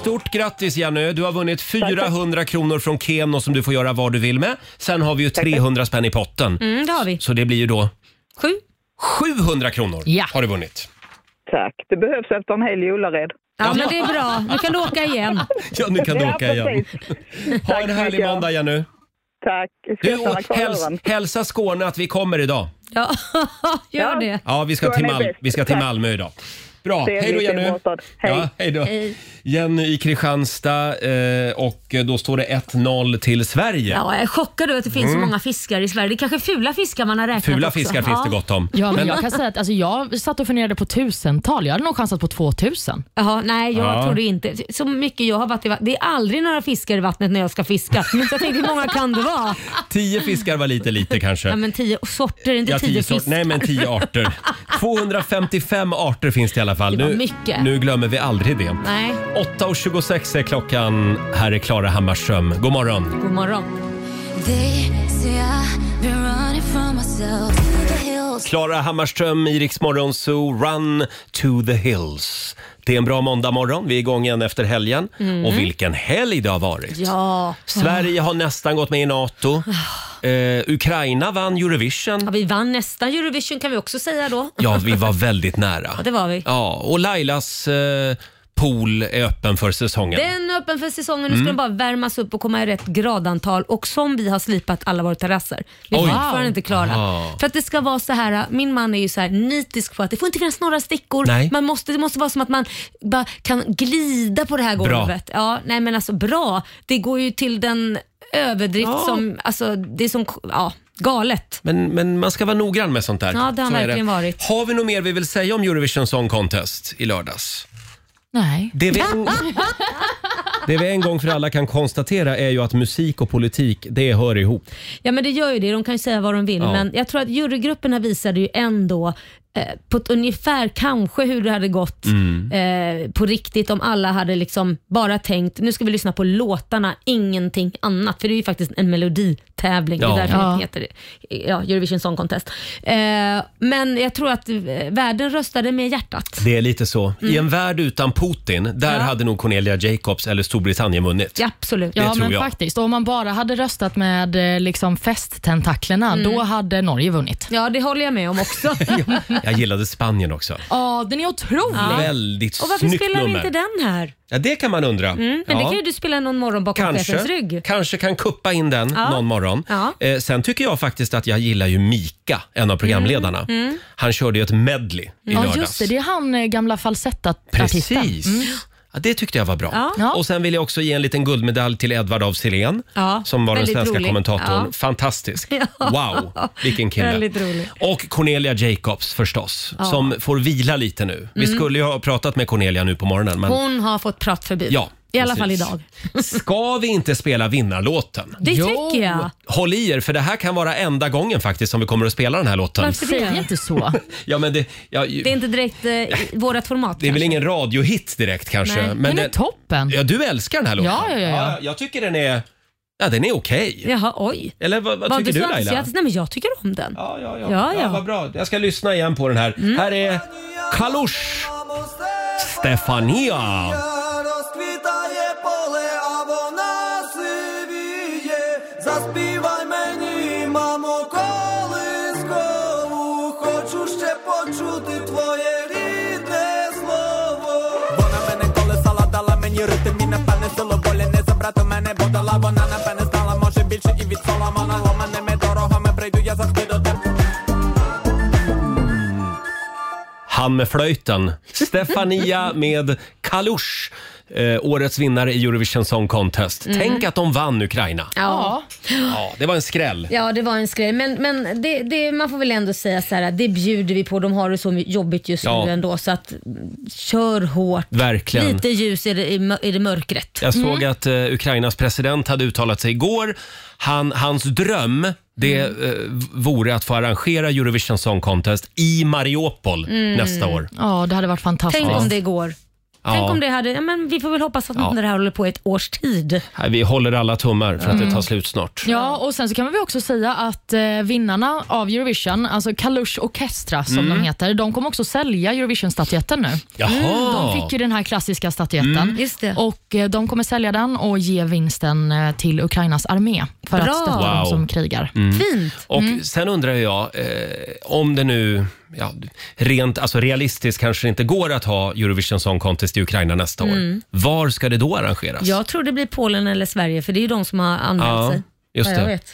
Speaker 1: Stort grattis Jenny! Du har vunnit 400 kronor från Keno som du får göra vad du vill med. Sen har vi ju 300 spänn i potten.
Speaker 2: Mm, det har vi.
Speaker 1: Så det blir ju då
Speaker 2: Sju.
Speaker 1: 700 kronor
Speaker 5: Ja.
Speaker 1: har du vunnit.
Speaker 13: Tack. Det behövs efter en helg i Ullared.
Speaker 2: Ja, men det är bra. Nu kan du åka igen.
Speaker 1: Ja, nu kan du
Speaker 13: Ja,
Speaker 1: åka igen. Ha en härlig måndag Jenny.
Speaker 13: Tack. Jag ska
Speaker 1: Du,
Speaker 13: stanna
Speaker 1: och
Speaker 13: kvar i
Speaker 1: häls
Speaker 13: dörren.
Speaker 1: hälsa Skåne att vi kommer idag.
Speaker 2: Ja, gör det.
Speaker 1: Ja, vi ska, till, Mal- vi ska till
Speaker 13: Tack.
Speaker 1: Malmö idag. Bra,
Speaker 13: Trevligt
Speaker 1: hej då
Speaker 13: i
Speaker 1: Jenny.
Speaker 13: Båstad. Hej.
Speaker 1: Ja, hej då. Jenny i Kristianstad eh, och då står det 1-0 till Sverige.
Speaker 2: Ja, jag är chockad över att det finns
Speaker 1: Mm.
Speaker 2: så många fiskar i Sverige. Det är kanske fula fiskar man har räknat
Speaker 1: Fula
Speaker 2: också.
Speaker 1: fiskar finns det gott om.
Speaker 5: Ja, men
Speaker 1: Men-
Speaker 5: jag kan säga att alltså, jag satt och funderade på tusental. Jag hade nog chansat på 2000.
Speaker 2: Jaha, nej jag
Speaker 5: Ja.
Speaker 2: tror det inte. Så mycket jag har varit i vattnet. Det är aldrig några fiskar i vattnet när jag ska fiska. Så jag tänkte hur många kan det vara?
Speaker 1: Tio fiskar var lite lite kanske.
Speaker 2: Ja, men tio sorter, inte
Speaker 1: Ja,
Speaker 2: tio,
Speaker 1: tio sort-
Speaker 2: fiskar.
Speaker 1: Nej, men tio arter. 255 arter finns det i alla fall.
Speaker 2: Det var
Speaker 1: nu,
Speaker 2: mycket.
Speaker 1: nu glömmer vi aldrig det.
Speaker 2: Nej,
Speaker 1: 8.26 är klockan. Här är Klara Hammarström. God morgon.
Speaker 2: god morgon.
Speaker 1: Klara Hammarström i Rix Morgon Zoo, Run to the Hills. Det är en bra måndagmorgon. Vi är igång igen efter helgen.
Speaker 2: Mm.
Speaker 1: Och vilken helg det har varit!
Speaker 2: Ja.
Speaker 1: Sverige har nästan gått med i NATO. Eh, Ukraina vann Eurovision.
Speaker 2: Ja, vi vann nästa Eurovision kan vi också säga då.
Speaker 1: Ja, vi var väldigt nära.
Speaker 2: Ja, det var vi.
Speaker 1: Ja, och Lailas eh, pool är öppen för säsongen.
Speaker 2: Den är öppen för säsongen. Nu ska
Speaker 1: Mm.
Speaker 2: den bara värmas upp och komma i rätt gradantal och som vi har slipat alla våra terrasser. Vi är
Speaker 1: Oj.
Speaker 2: fortfarande inte klara.
Speaker 1: Ah.
Speaker 2: För att det ska vara så här, min man är ju så här nitisk på att det får inte finnas några stickor.
Speaker 1: Nej.
Speaker 2: Man måste, det måste vara som att man bara kan glida på det här
Speaker 1: Bra.
Speaker 2: golvet. Ja, nej men alltså bra. Det går ju till den överdrift
Speaker 1: Ja.
Speaker 2: som, alltså det är som, ja, galet.
Speaker 1: Men, men man ska vara noggrann med sånt där.
Speaker 2: Ja, det har
Speaker 1: Så är
Speaker 2: verkligen varit.
Speaker 1: Har vi något mer vi vill säga om Eurovision Song Contest i lördags?
Speaker 5: Nej.
Speaker 1: Det vi, det vi en gång för alla kan konstatera är ju att musik och politik, det hör ihop.
Speaker 2: Ja men det gör ju det, de kan ju säga vad de vill
Speaker 1: Ja.
Speaker 2: men jag tror att jurygrupperna visade ju ändå eh, på ett ungefär kanske hur det hade gått
Speaker 6: Mm.
Speaker 2: eh, på riktigt om alla hade liksom bara tänkt nu ska vi lyssna på låtarna, ingenting annat. För det är ju faktiskt en meloditävling, det
Speaker 6: Ja.
Speaker 2: är därför
Speaker 6: Ja.
Speaker 2: det heter det. Ja, Eurovision Song Contest. Eh, men jag tror att eh, världen röstade med hjärtat.
Speaker 1: Det är lite så. I en värld utan Putin, där
Speaker 2: Ja.
Speaker 1: hade nog Cornelia Jacobs eller Storbritannien vunnit.
Speaker 2: Ja, absolut.
Speaker 1: Det
Speaker 5: Ja,
Speaker 1: tror
Speaker 5: men
Speaker 1: jag.
Speaker 5: faktiskt. Och om man bara hade röstat med eh, liksom festtentacklerna,
Speaker 2: Mm.
Speaker 5: då hade Norge vunnit.
Speaker 2: Ja, det håller jag med om också.
Speaker 1: Jag gillade Spanien också.
Speaker 5: Ja, den är otrolig.
Speaker 1: Väldigt
Speaker 2: Och varför
Speaker 1: snyggt
Speaker 2: spelar vi
Speaker 1: nummer.
Speaker 2: inte den här?
Speaker 1: Ja, det kan man undra.
Speaker 2: Mm, men
Speaker 1: Ja.
Speaker 2: det kan ju du spela någon morgon bakom chefens rygg.
Speaker 1: Kanske, kanske kan kuppa in den
Speaker 2: Ja.
Speaker 1: någon morgon.
Speaker 2: Ja.
Speaker 1: Eh, sen tycker jag faktiskt att jag gillar ju Mika, en av programledarna.
Speaker 5: Mm.
Speaker 1: Han körde ju ett medley i
Speaker 5: Ja,
Speaker 1: lördags.
Speaker 5: just det. Det är han eh, gamla falsettartisten.
Speaker 1: Precis.
Speaker 2: Mm.
Speaker 1: Ja, det tyckte jag var bra.
Speaker 5: Ja.
Speaker 1: Och Sen vill jag också ge en liten guldmedalj till Edvard af Sillén
Speaker 5: Ja,
Speaker 1: som var den
Speaker 5: väldigt
Speaker 1: svenska
Speaker 5: rolig.
Speaker 1: kommentatorn.
Speaker 5: Ja.
Speaker 1: Fantastisk.
Speaker 5: Ja.
Speaker 1: Wow, vilken kille.
Speaker 2: Väldigt rolig.
Speaker 1: Och Cornelia Jacobs förstås,
Speaker 2: Ja.
Speaker 1: som får vila lite nu. Vi
Speaker 2: Mm.
Speaker 1: skulle ju ha pratat med Cornelia nu på morgonen, men
Speaker 2: Hon har fått pratförbud.
Speaker 1: Ja,
Speaker 2: I alla
Speaker 1: precis.
Speaker 2: fall idag.
Speaker 1: ska vi inte spela vinnarlåten?
Speaker 2: Det tycker jag.
Speaker 1: Håll i er, för det här kan vara enda gången faktiskt som vi kommer att spela den här låten.
Speaker 2: Varför det? Säg
Speaker 5: inte så.
Speaker 1: ja, men det, ja,
Speaker 2: Det är inte direkt eh, i vårat format.
Speaker 1: det är väl ingen radiohit direkt kanske.
Speaker 2: Nej, den är
Speaker 5: toppen.
Speaker 1: Ja, du älskar den här låten.
Speaker 2: Ja, ja, ja, ja.
Speaker 1: jag tycker den är, ja, den är okej.
Speaker 2: Jaha, oj.
Speaker 1: Eller vad, vad tycker
Speaker 2: du
Speaker 1: du
Speaker 2: så
Speaker 1: Laila?
Speaker 2: entusiastisk? Nej, men jag tycker om den.
Speaker 1: Ja,
Speaker 2: ja. ja, Mm.
Speaker 1: vad bra. Jag ska lyssna igen på den här. Här är Kalush Stefania.
Speaker 6: Заспівай мені, мамо, колискову, хочу ще почути твоє рідне слово.
Speaker 14: Вона мене колесала, дала мені ритм і напевне силу волі не забрати мене, бо дала вона напевне знала, може більше і від Соломона ламаними дорогами прийду я завжди до тебе.
Speaker 1: Han med flöjten. Stefania med Kalush. Eh, årets vinnare i Eurovision Song Contest.
Speaker 2: Mm.
Speaker 1: Tänk att de vann Ukraina.
Speaker 2: Ja.
Speaker 1: Ja, det var en skräll.
Speaker 2: Ja, det var en skräll. Men, men det, det, man får väl ändå säga så här, att det bjuder vi på. De har det så jobbigt just
Speaker 1: Ja.
Speaker 2: nu ändå, så att mm, kör hårt.
Speaker 1: Verkligen.
Speaker 2: Lite ljus i det, i, mö- i det mörkret.
Speaker 1: Jag såg att eh, Ukrainas president hade uttalat sig igår. Han, hans dröm det
Speaker 2: Mm.
Speaker 1: eh, vore att få arrangera Eurovision Song Contest i Mariupol
Speaker 2: Mm.
Speaker 1: nästa år.
Speaker 5: Ja, det hade varit fantastiskt.
Speaker 2: Tänk
Speaker 1: Ja.
Speaker 2: om det går. Tänk
Speaker 1: Ja.
Speaker 2: om det hade... Ja, men vi får väl hoppas att
Speaker 1: Ja.
Speaker 2: det här håller på i ett års tid.
Speaker 1: Nej, Vi håller alla tummar för att
Speaker 5: Mm.
Speaker 1: det tar slut snart.
Speaker 5: Ja, och sen så kan vi också säga att eh, vinnarna av Eurovision, alltså Kalush Orkestra som
Speaker 1: Mm.
Speaker 5: de heter, de kommer också sälja Eurovision-statyetten nu.
Speaker 1: Jaha.
Speaker 5: De fick ju den här klassiska statyetten
Speaker 2: Mm.
Speaker 5: och eh, de kommer sälja den och ge vinsten eh, till Ukrainas armé för
Speaker 1: Bra.
Speaker 5: att stötta
Speaker 1: Wow.
Speaker 5: dem som krigar.
Speaker 1: Mm.
Speaker 2: Fint.
Speaker 1: Och Sen undrar jag eh, om det nu ja, rent alltså realistiskt kanske det inte går att ha Eurovision Song Contest i Ukraina nästa
Speaker 2: Mm.
Speaker 1: år. Var ska det då arrangeras?
Speaker 2: Jag tror det blir Polen eller Sverige, för det är ju de som har anmält
Speaker 1: Ja,
Speaker 2: sig.
Speaker 1: just
Speaker 2: Vad jag
Speaker 1: det.
Speaker 2: vet.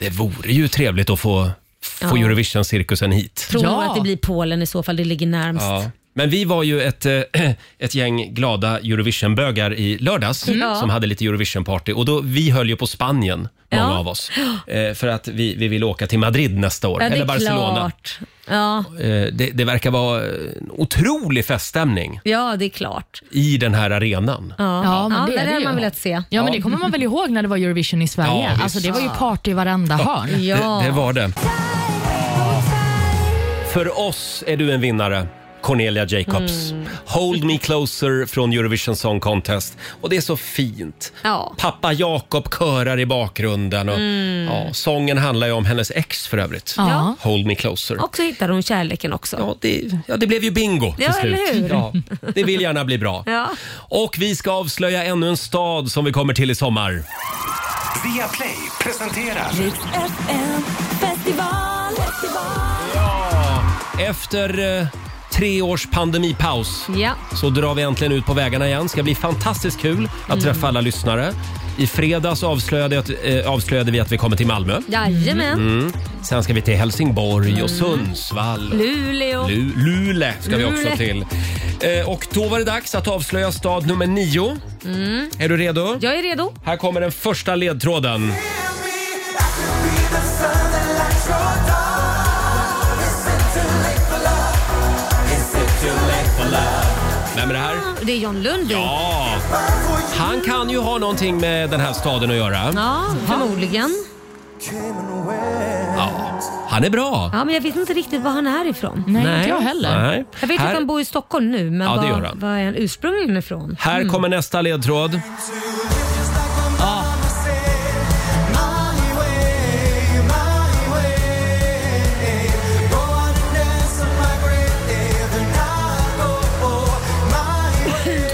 Speaker 1: Det vore ju trevligt att få, få
Speaker 2: Ja.
Speaker 1: Eurovision-cirkusen hit.
Speaker 2: Tror nog att det blir Polen i så fall, det ligger närmst.
Speaker 1: Ja. Men vi var ju ett, eh, ett gäng glada Eurovisionbögar i lördags
Speaker 2: Mm. Ja.
Speaker 1: som hade lite Eurovisionparty och då, vi höll ju på Spanien, många
Speaker 2: Ja.
Speaker 1: av oss. Eh, För att vi, vi vill åka till Madrid nästa år,
Speaker 2: Ja, det
Speaker 1: eller
Speaker 2: är
Speaker 1: Barcelona.
Speaker 2: klart. Ja.
Speaker 1: Eh, Det, det verkar vara en otrolig feststämning
Speaker 2: ja, det är klart.
Speaker 1: i den här arenan.
Speaker 2: Ja,
Speaker 5: Ja, men
Speaker 2: Ja,
Speaker 5: det,
Speaker 2: det
Speaker 5: är
Speaker 2: hade
Speaker 5: det ju.
Speaker 2: man velat se.
Speaker 5: Ja, men det kommer man väl ihåg när det var Eurovision i
Speaker 1: Ja,
Speaker 5: Sverige.
Speaker 1: visst.
Speaker 5: alltså, det var ju party i varenda hörn.
Speaker 2: Ah.
Speaker 1: Det, det var det. För oss är du en vinnare. Cornelia Jacobs.
Speaker 2: Mm.
Speaker 1: Hold me closer från Eurovision Song Contest. Och det är så fint.
Speaker 2: Ja.
Speaker 1: Pappa Jakob körar i bakgrunden. Och,
Speaker 2: Mm.
Speaker 1: ja, sången handlar ju om hennes ex för övrigt.
Speaker 2: Ja.
Speaker 1: Hold me closer.
Speaker 2: Och så hittade hon kärleken också.
Speaker 1: Ja, det, ja, det blev ju bingo till
Speaker 2: Ja,
Speaker 1: slut.
Speaker 2: eller hur?
Speaker 1: Ja, det vill gärna bli bra.
Speaker 2: Ja.
Speaker 1: Och vi ska avslöja ännu en stad som vi kommer till i sommar.
Speaker 3: Via Play presenterar...
Speaker 6: Festival, festival.
Speaker 1: Efter eh, tre års pandemipaus
Speaker 2: Ja.
Speaker 1: så drar vi äntligen ut på vägarna igen. ska bli fantastiskt kul att
Speaker 2: Mm.
Speaker 1: träffa alla lyssnare. I fredags avslöjade, att, eh, avslöjade vi att vi kommer till Malmö.
Speaker 2: Jajamän.
Speaker 1: Mm. Sen ska vi till Helsingborg och Sundsvall.
Speaker 2: Luleå.
Speaker 1: Lu- Lule ska vi
Speaker 2: Lule.
Speaker 1: också till. Eh, och då var det dags att avslöja stad nummer nio.
Speaker 2: Mm.
Speaker 1: Är du redo?
Speaker 2: Jag är redo.
Speaker 1: Här kommer den första ledtråden. Vem är det här?
Speaker 2: Det är John Lundvik.
Speaker 1: Ja! Han kan ju ha någonting med den här staden att göra.
Speaker 2: Ja, förmodligen.
Speaker 1: Ja, Han är bra.
Speaker 2: Ja, men jag vet inte riktigt var han är ifrån.
Speaker 1: Nej, inte Nej. jag heller. Nej.
Speaker 2: Jag vet
Speaker 1: Här-
Speaker 2: att han bor i Stockholm nu, men
Speaker 1: Ja, det gör
Speaker 2: var,
Speaker 1: han.
Speaker 2: var är han ursprungligen ifrån?
Speaker 1: Här
Speaker 2: Mm.
Speaker 1: kommer nästa ledtråd.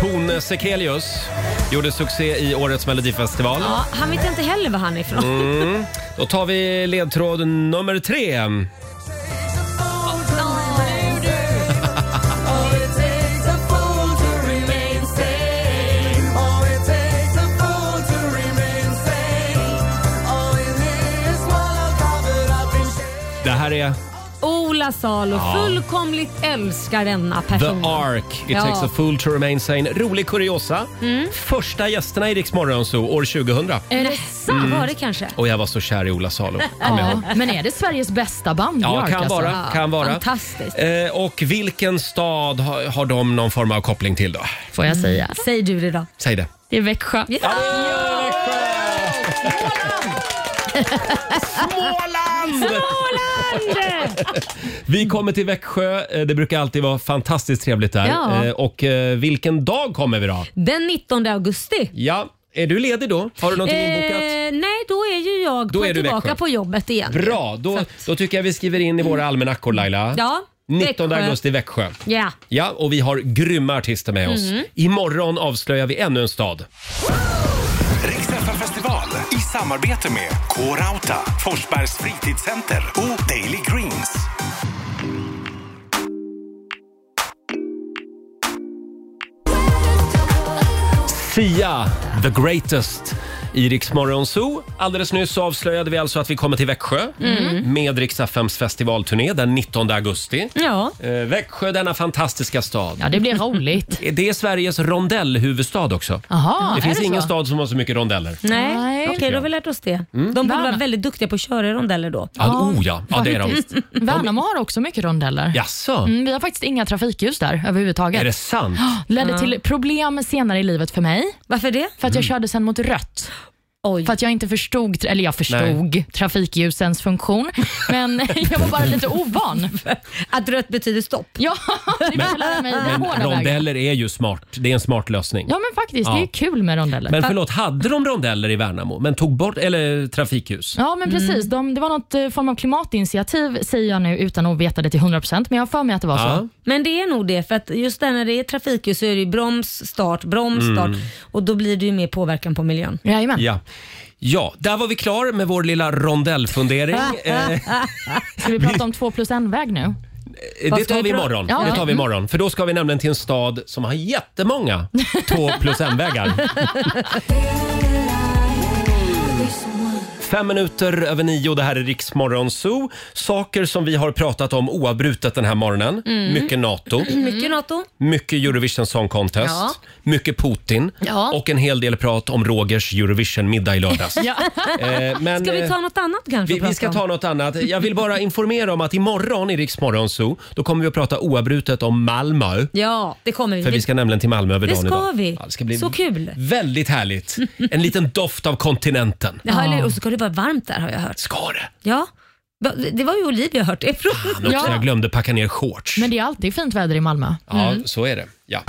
Speaker 1: Tone Sekelius gjorde succé i årets melodifestival.
Speaker 2: Ja, han vet inte heller var han är ifrån.
Speaker 1: Mm. Då tar vi ledtråd nummer tre. Det här är
Speaker 2: Ola Salo,
Speaker 1: Ja.
Speaker 2: fullkomligt älskar denna
Speaker 1: The
Speaker 2: person.
Speaker 1: Ark. It
Speaker 2: Mm. Ja.
Speaker 1: takes a fool to remain sane. Rolig kuriosa. Första gästerna i Rix Morgon Zoo år 2000.
Speaker 5: Är det
Speaker 1: Mm.
Speaker 5: sant? Var det kanske?
Speaker 1: Och jag var så kär i Ola Salo. Kommer jag ihåg.
Speaker 5: Ja. Men är det Sveriges bästa band?
Speaker 1: Ja,
Speaker 5: Björk,
Speaker 1: kan
Speaker 5: alltså?
Speaker 1: vara, kan vara.
Speaker 5: Fantastiskt.
Speaker 1: Eh, och vilken stad har, har de någon form av koppling till då?
Speaker 5: Får jag säga?
Speaker 2: Säg du det då.
Speaker 1: Säg det.
Speaker 5: Mm. Det är Växjö. Ja!
Speaker 6: Småland!
Speaker 5: Småland!
Speaker 1: Vi kommer till Växjö. Eh, Det brukar alltid vara fantastiskt trevligt där.
Speaker 2: Ja.
Speaker 1: Eh, och eh, vilken dag kommer vi då?
Speaker 2: Den 19 augusti.
Speaker 1: Ja, är du ledig då? Har du någonting
Speaker 2: Eh,
Speaker 1: inbokat?
Speaker 2: nej, då är ju jag
Speaker 1: Då
Speaker 2: på
Speaker 1: är du i
Speaker 2: tillbaka
Speaker 1: Växjö.
Speaker 2: på jobbet igen.
Speaker 1: Bra, då, då tycker jag vi skriver in i våra almanackor Laila.
Speaker 2: Ja,
Speaker 1: 19
Speaker 2: Växjö.
Speaker 1: augusti Växjö.
Speaker 2: Ja.
Speaker 1: Ja, och vi har grymma artister med oss.
Speaker 2: Mhm.
Speaker 1: Imorgon avslöjar vi ännu en stad.
Speaker 3: festival i samarbete med K-Rauta, Forsbergs fritidscenter och Daily Greens.
Speaker 1: Sia, the greatest. I Rix Morgon Zoo. Alldeles nyss så avslöjade vi alltså att vi kommer till Växjö
Speaker 2: Mm.
Speaker 1: med Rix FMs festivalturné den 19 augusti.
Speaker 2: Ja.
Speaker 1: Eh, Växjö, denna fantastiska stad.
Speaker 5: Ja, det blir roligt.
Speaker 1: Det är Sveriges rondellhuvudstad också.
Speaker 2: Aha,
Speaker 1: det
Speaker 2: är
Speaker 1: finns
Speaker 2: det
Speaker 1: ingen
Speaker 2: så?
Speaker 1: stad som har så mycket rondeller.
Speaker 2: Nej, okej
Speaker 1: Tycker
Speaker 2: då
Speaker 1: jag.
Speaker 2: har vi lärt oss det.
Speaker 1: Mm.
Speaker 2: De borde vara väldigt duktiga på att köra i rondeller då.
Speaker 1: Ja, oh ja. ja det är de.
Speaker 5: Faktiskt. Värnamo har också mycket rondeller.
Speaker 1: Jaså?
Speaker 5: Mm, vi har faktiskt inga trafikljus där överhuvudtaget.
Speaker 1: Är det sant?
Speaker 5: Ja, Ledde
Speaker 1: Ja.
Speaker 5: till problem senare i livet för mig.
Speaker 2: Varför det?
Speaker 5: För att
Speaker 1: Mm.
Speaker 5: jag körde sen mot rött. För att jag inte förstod, tra- eller jag förstod trafikljusens funktion, men jag var bara lite ovan.
Speaker 2: Att rött betyder stopp?
Speaker 5: Ja, det
Speaker 1: Men-
Speaker 5: lärde mig den
Speaker 1: Men
Speaker 5: hårda vägen.
Speaker 1: rondeller är ju smart. Det är en smart lösning.
Speaker 5: Ja men faktiskt, det
Speaker 1: Ja.
Speaker 5: är kul med rondeller.
Speaker 1: Men förlåt, hade de rondeller i Värnamo men tog bort eller trafikljus?
Speaker 5: Ja, men precis. De, det var något eh, form av klimatinitiativ, säger jag nu utan att veta det till 100%, men jag har för mig att det var
Speaker 1: Ja.
Speaker 5: så.
Speaker 2: Men det är nog det, för att just där när det är trafikljus så är det ju broms, start, broms,
Speaker 1: Mm.
Speaker 2: start och då blir det ju mer påverkan på miljön.
Speaker 5: Jajamän.
Speaker 1: Ja. ja, där var vi klar med vår lilla rondellfundering. Eh,
Speaker 5: Ska vi prata om två plus en-väg nu? Vad
Speaker 1: det
Speaker 5: ska
Speaker 1: tar vi
Speaker 5: vi pra-
Speaker 1: imorgon.
Speaker 5: Ja.
Speaker 1: Det tar vi
Speaker 5: Mm.
Speaker 1: imorgon. För då ska vi nämligen till en stad som har jättemånga två plus en-vägar. Fem minuter över nio, det här är Riksmorgon Zoo. Saker som vi har pratat om oavbrutet den här morgonen.
Speaker 2: Mm.
Speaker 1: Mycket NATO.
Speaker 2: Mycket NATO.
Speaker 1: Mycket Eurovision Song Contest,
Speaker 2: Ja.
Speaker 1: mycket Putin
Speaker 2: Ja.
Speaker 1: och en hel del prat om Rogers Eurovision-middag i lördags.
Speaker 2: Ja.
Speaker 1: Eh, men,
Speaker 2: ska vi ta
Speaker 1: eh,
Speaker 2: något annat kanske?
Speaker 1: Vi,
Speaker 2: att
Speaker 1: vi ska
Speaker 2: prata
Speaker 1: ta
Speaker 2: om?
Speaker 1: något annat. Jag vill bara informera om att imorgon i Riksmorgon Zoo, då kommer vi att prata oavbrutet om Malmö.
Speaker 2: Ja, det kommer vi.
Speaker 1: För vi ska nämligen till Malmö över
Speaker 2: det
Speaker 1: dagen
Speaker 2: ska
Speaker 1: idag.
Speaker 2: vi.
Speaker 1: Ja, det ska bli
Speaker 2: Så kul.
Speaker 1: Väldigt härligt. En liten doft av kontinenten.
Speaker 2: Ja, eller, och så ska det vara varmt där har jag hört.
Speaker 1: Ska det?
Speaker 2: Ja. Va- Det var ju Olivia jag hört det ifrån.
Speaker 1: Men också, Jag glömde packa ner shorts.
Speaker 5: Men det är alltid fint väder i Malmö.
Speaker 1: Ja,
Speaker 6: Mm.
Speaker 1: så är det. Ja.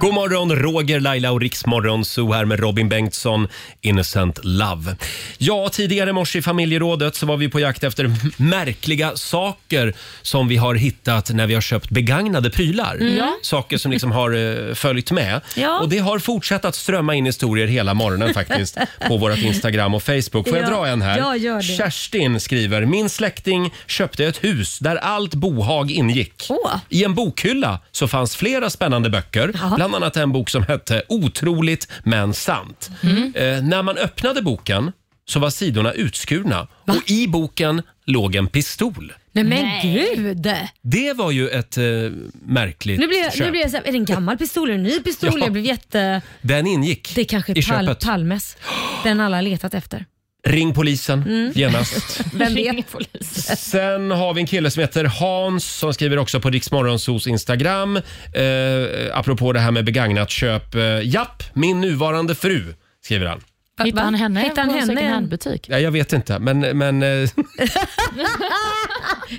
Speaker 1: God morgon, Roger, Laila och Riksmorgon Zoo här med Robin Bengtsson, Innocent Love. Ja, tidigare i morse i familjerådet så var vi på jakt efter m- märkliga saker som vi har hittat när vi har köpt begagnade prylar.
Speaker 6: Mm. Ja.
Speaker 1: Saker som liksom har eh, följt med.
Speaker 6: Ja.
Speaker 1: Och det har fortsatt att strömma in historier hela morgonen faktiskt på vårt Instagram och Facebook. Får jag
Speaker 6: Ja.
Speaker 1: dra en här?
Speaker 6: Ja, gör det.
Speaker 1: Kerstin skriver, min släkting köpte ett hus där allt bohag ingick. I en bokhylla så fanns flera spännande böcker, bland annat en bok som hette Otroligt men sant.
Speaker 2: Mm.
Speaker 1: Eh, när man öppnade boken så var sidorna utskurna och i boken låg en pistol.
Speaker 2: Nej men gud!
Speaker 1: Det var ju ett eh, märkligt
Speaker 2: Nu blir, jag,
Speaker 1: köp.
Speaker 2: nu blir jag så här, är det en gammal pistol? Är det en ny pistol?
Speaker 1: Ja.
Speaker 2: Jag blev jätte...
Speaker 1: Den ingick
Speaker 2: Det kanske
Speaker 1: i
Speaker 2: är pal-
Speaker 1: köpet.
Speaker 2: Palmes. Den alla har letat efter.
Speaker 1: Ring polisen
Speaker 2: Mm.
Speaker 1: genast.
Speaker 2: Vem vet?
Speaker 1: Sen har vi en kille som heter Hans som skriver också på Riksmorgonsos Instagram. Eh, apropå det här med begagnat köp. Eh, japp, min nuvarande fru, skriver han.
Speaker 5: Hittade han henne
Speaker 2: Hittade han
Speaker 5: på en
Speaker 2: henne?
Speaker 5: second hand-butik?
Speaker 1: Ja, jag vet inte, men... men eh,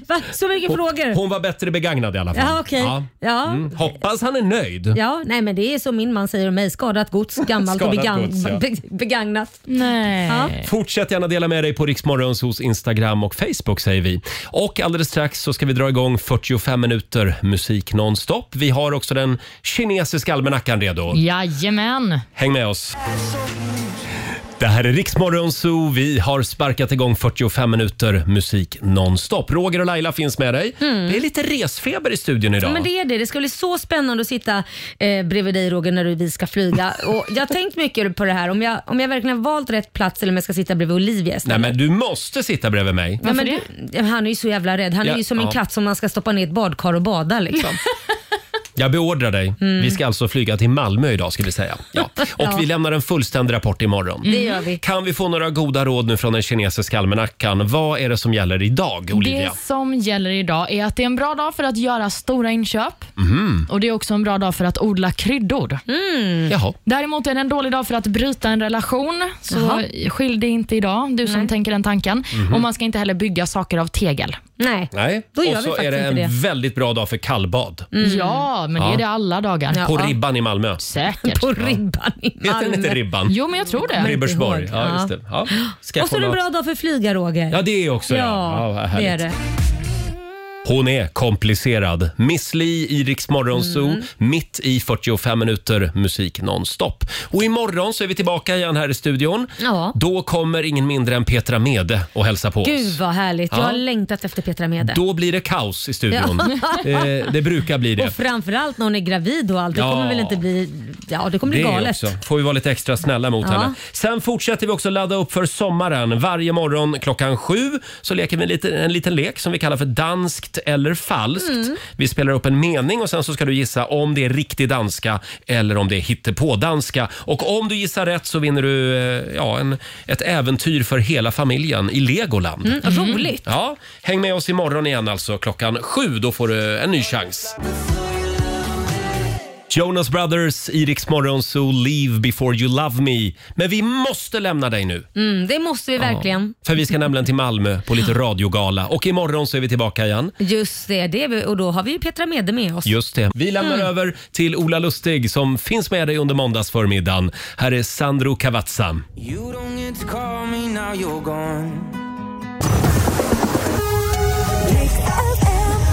Speaker 2: Va? Så mycket frågor.
Speaker 1: hon, hon var bättre begagnad i alla fall.
Speaker 2: Ja, okej. Ja.
Speaker 1: Mm. Hoppas han är nöjd.
Speaker 2: Ja, nej men det är som min man säger om mig. Skadat gods, gammalt och
Speaker 1: Skadat
Speaker 2: began-
Speaker 1: gods, ja.
Speaker 2: be- begagnat. Nej. Ja.
Speaker 1: Fortsätt gärna dela med dig på Riksmorgonsos Instagram och Facebook säger vi. Och alldeles strax så ska vi dra igång 45 minuter musik nonstop. Vi har också den kinesiska almanackan redo.
Speaker 5: Jajamän.
Speaker 1: Häng med oss. Det här är Riksmorgon Zoo. Vi har sparkat igång 45 minuter musik nonstop. Roger och Laila finns med dig.
Speaker 5: Mm.
Speaker 1: Det är lite resfeber i studion idag.
Speaker 2: Men det är det. Det ska bli så spännande att sitta eh, bredvid dig Roger när du- vi ska flyga. Och jag har tänkt mycket på det här, om jag, om jag verkligen har valt rätt plats eller om jag ska sitta bredvid Olivia
Speaker 1: Nej,
Speaker 2: istället.
Speaker 1: men du måste sitta bredvid mig.
Speaker 2: Nej, men du, han är ju så jävla rädd. Han
Speaker 1: Ja,
Speaker 2: är ju som en
Speaker 1: ja.
Speaker 2: katt som man ska stoppa ner i ett badkar och bada. Liksom.
Speaker 1: Jag beordrar dig.
Speaker 2: Mm.
Speaker 1: Vi ska alltså flyga till Malmö idag ska vi säga. Ja. Och
Speaker 2: Ja.
Speaker 1: vi lämnar en fullständig rapport imorgon.
Speaker 5: Mm.
Speaker 2: Det gör vi.
Speaker 1: Kan vi få några goda råd nu från den kinesiska almanackan? Vad är det som gäller idag, Olivia?
Speaker 5: Det som gäller idag är att det är en bra dag för att göra stora inköp.
Speaker 1: Mhm.
Speaker 5: Och Det är också en bra dag för att odla kryddor. Mm.
Speaker 1: Jaha.
Speaker 5: Däremot är det en dålig dag för att bryta en relation. Så
Speaker 2: Jaha.
Speaker 5: skilj dig inte idag, du som tänker den tanken.
Speaker 1: Mhm.
Speaker 5: Och Man ska inte heller bygga saker av tegel.
Speaker 2: Nej.
Speaker 1: Nej.
Speaker 5: Då gör
Speaker 1: Och
Speaker 5: vi
Speaker 1: så är
Speaker 5: faktiskt
Speaker 1: det en
Speaker 5: inte det.
Speaker 1: väldigt bra dag för kallbad.
Speaker 5: Ja, men det
Speaker 1: Ja.
Speaker 5: är det alla dagar.
Speaker 1: På ribban i Malmö.
Speaker 5: Säkert.
Speaker 2: På ribban i
Speaker 1: Heter den inte Ribban?
Speaker 5: Jo, men jag tror det.
Speaker 1: Ribersborg.
Speaker 2: ihåg.
Speaker 1: Ja,
Speaker 2: Ja.
Speaker 1: just det. Ja. Ska jag
Speaker 2: Och så är det
Speaker 1: kolla-
Speaker 2: en bra dag för flyga Roger.
Speaker 1: Ja, det är också ja.
Speaker 2: ja,
Speaker 1: vad
Speaker 2: det
Speaker 1: härligt.
Speaker 2: är det.
Speaker 1: Hon är komplicerad. Miss Li i Rix Morgon Zoo,
Speaker 2: Mm.
Speaker 1: mitt i 45 minuter musik nonstop. Och imorgon så är vi tillbaka igen här i studion.
Speaker 2: Ja.
Speaker 1: Då kommer ingen mindre än Petra Mede och hälsa på
Speaker 2: Gud
Speaker 1: oss.
Speaker 2: vad härligt. Jag
Speaker 1: Ja.
Speaker 2: har längtat efter Petra Mede.
Speaker 1: Då blir det kaos i studion.
Speaker 2: Ja.
Speaker 1: Eh, det brukar bli det.
Speaker 2: Och framförallt när hon är gravid och allt. Det
Speaker 1: Ja.
Speaker 2: kommer väl inte bli... Ja, det kommer bli
Speaker 1: Det
Speaker 2: galet.
Speaker 1: också. Får vi vara lite extra snälla mot
Speaker 2: Ja.
Speaker 1: henne. Sen fortsätter vi också ladda upp för sommaren. Varje morgon klockan sju så leker vi lite, en liten lek som vi kallar för danskt eller falskt.
Speaker 6: Mm.
Speaker 1: Vi spelar upp en mening och sen så ska du gissa om det är riktig danska eller om det är hittepådanska. Och om du gissar rätt så vinner du eh, ja, en, ett äventyr för hela familjen i Legoland.
Speaker 2: Mm, vad roligt.
Speaker 1: Ja, häng med oss imorgon igen alltså klockan sju. Då får du en ny chans. Jonas Brothers, Iriks morgonzoo, Leave before you love me. Men vi måste lämna dig nu.
Speaker 2: Mm, det måste vi verkligen.
Speaker 1: För vi ska nämligen till Malmö på lite radiogala och imorgon så är vi tillbaka igen.
Speaker 2: Just det, det är vi, och då har vi ju Petra Mede med oss.
Speaker 1: Just det. Vi lämnar
Speaker 2: Mm.
Speaker 1: över till Ola Lustig som finns med dig under måndagsförmiddagen. Här är Sandro Cavazza.
Speaker 6: You don't get to call me now you're gone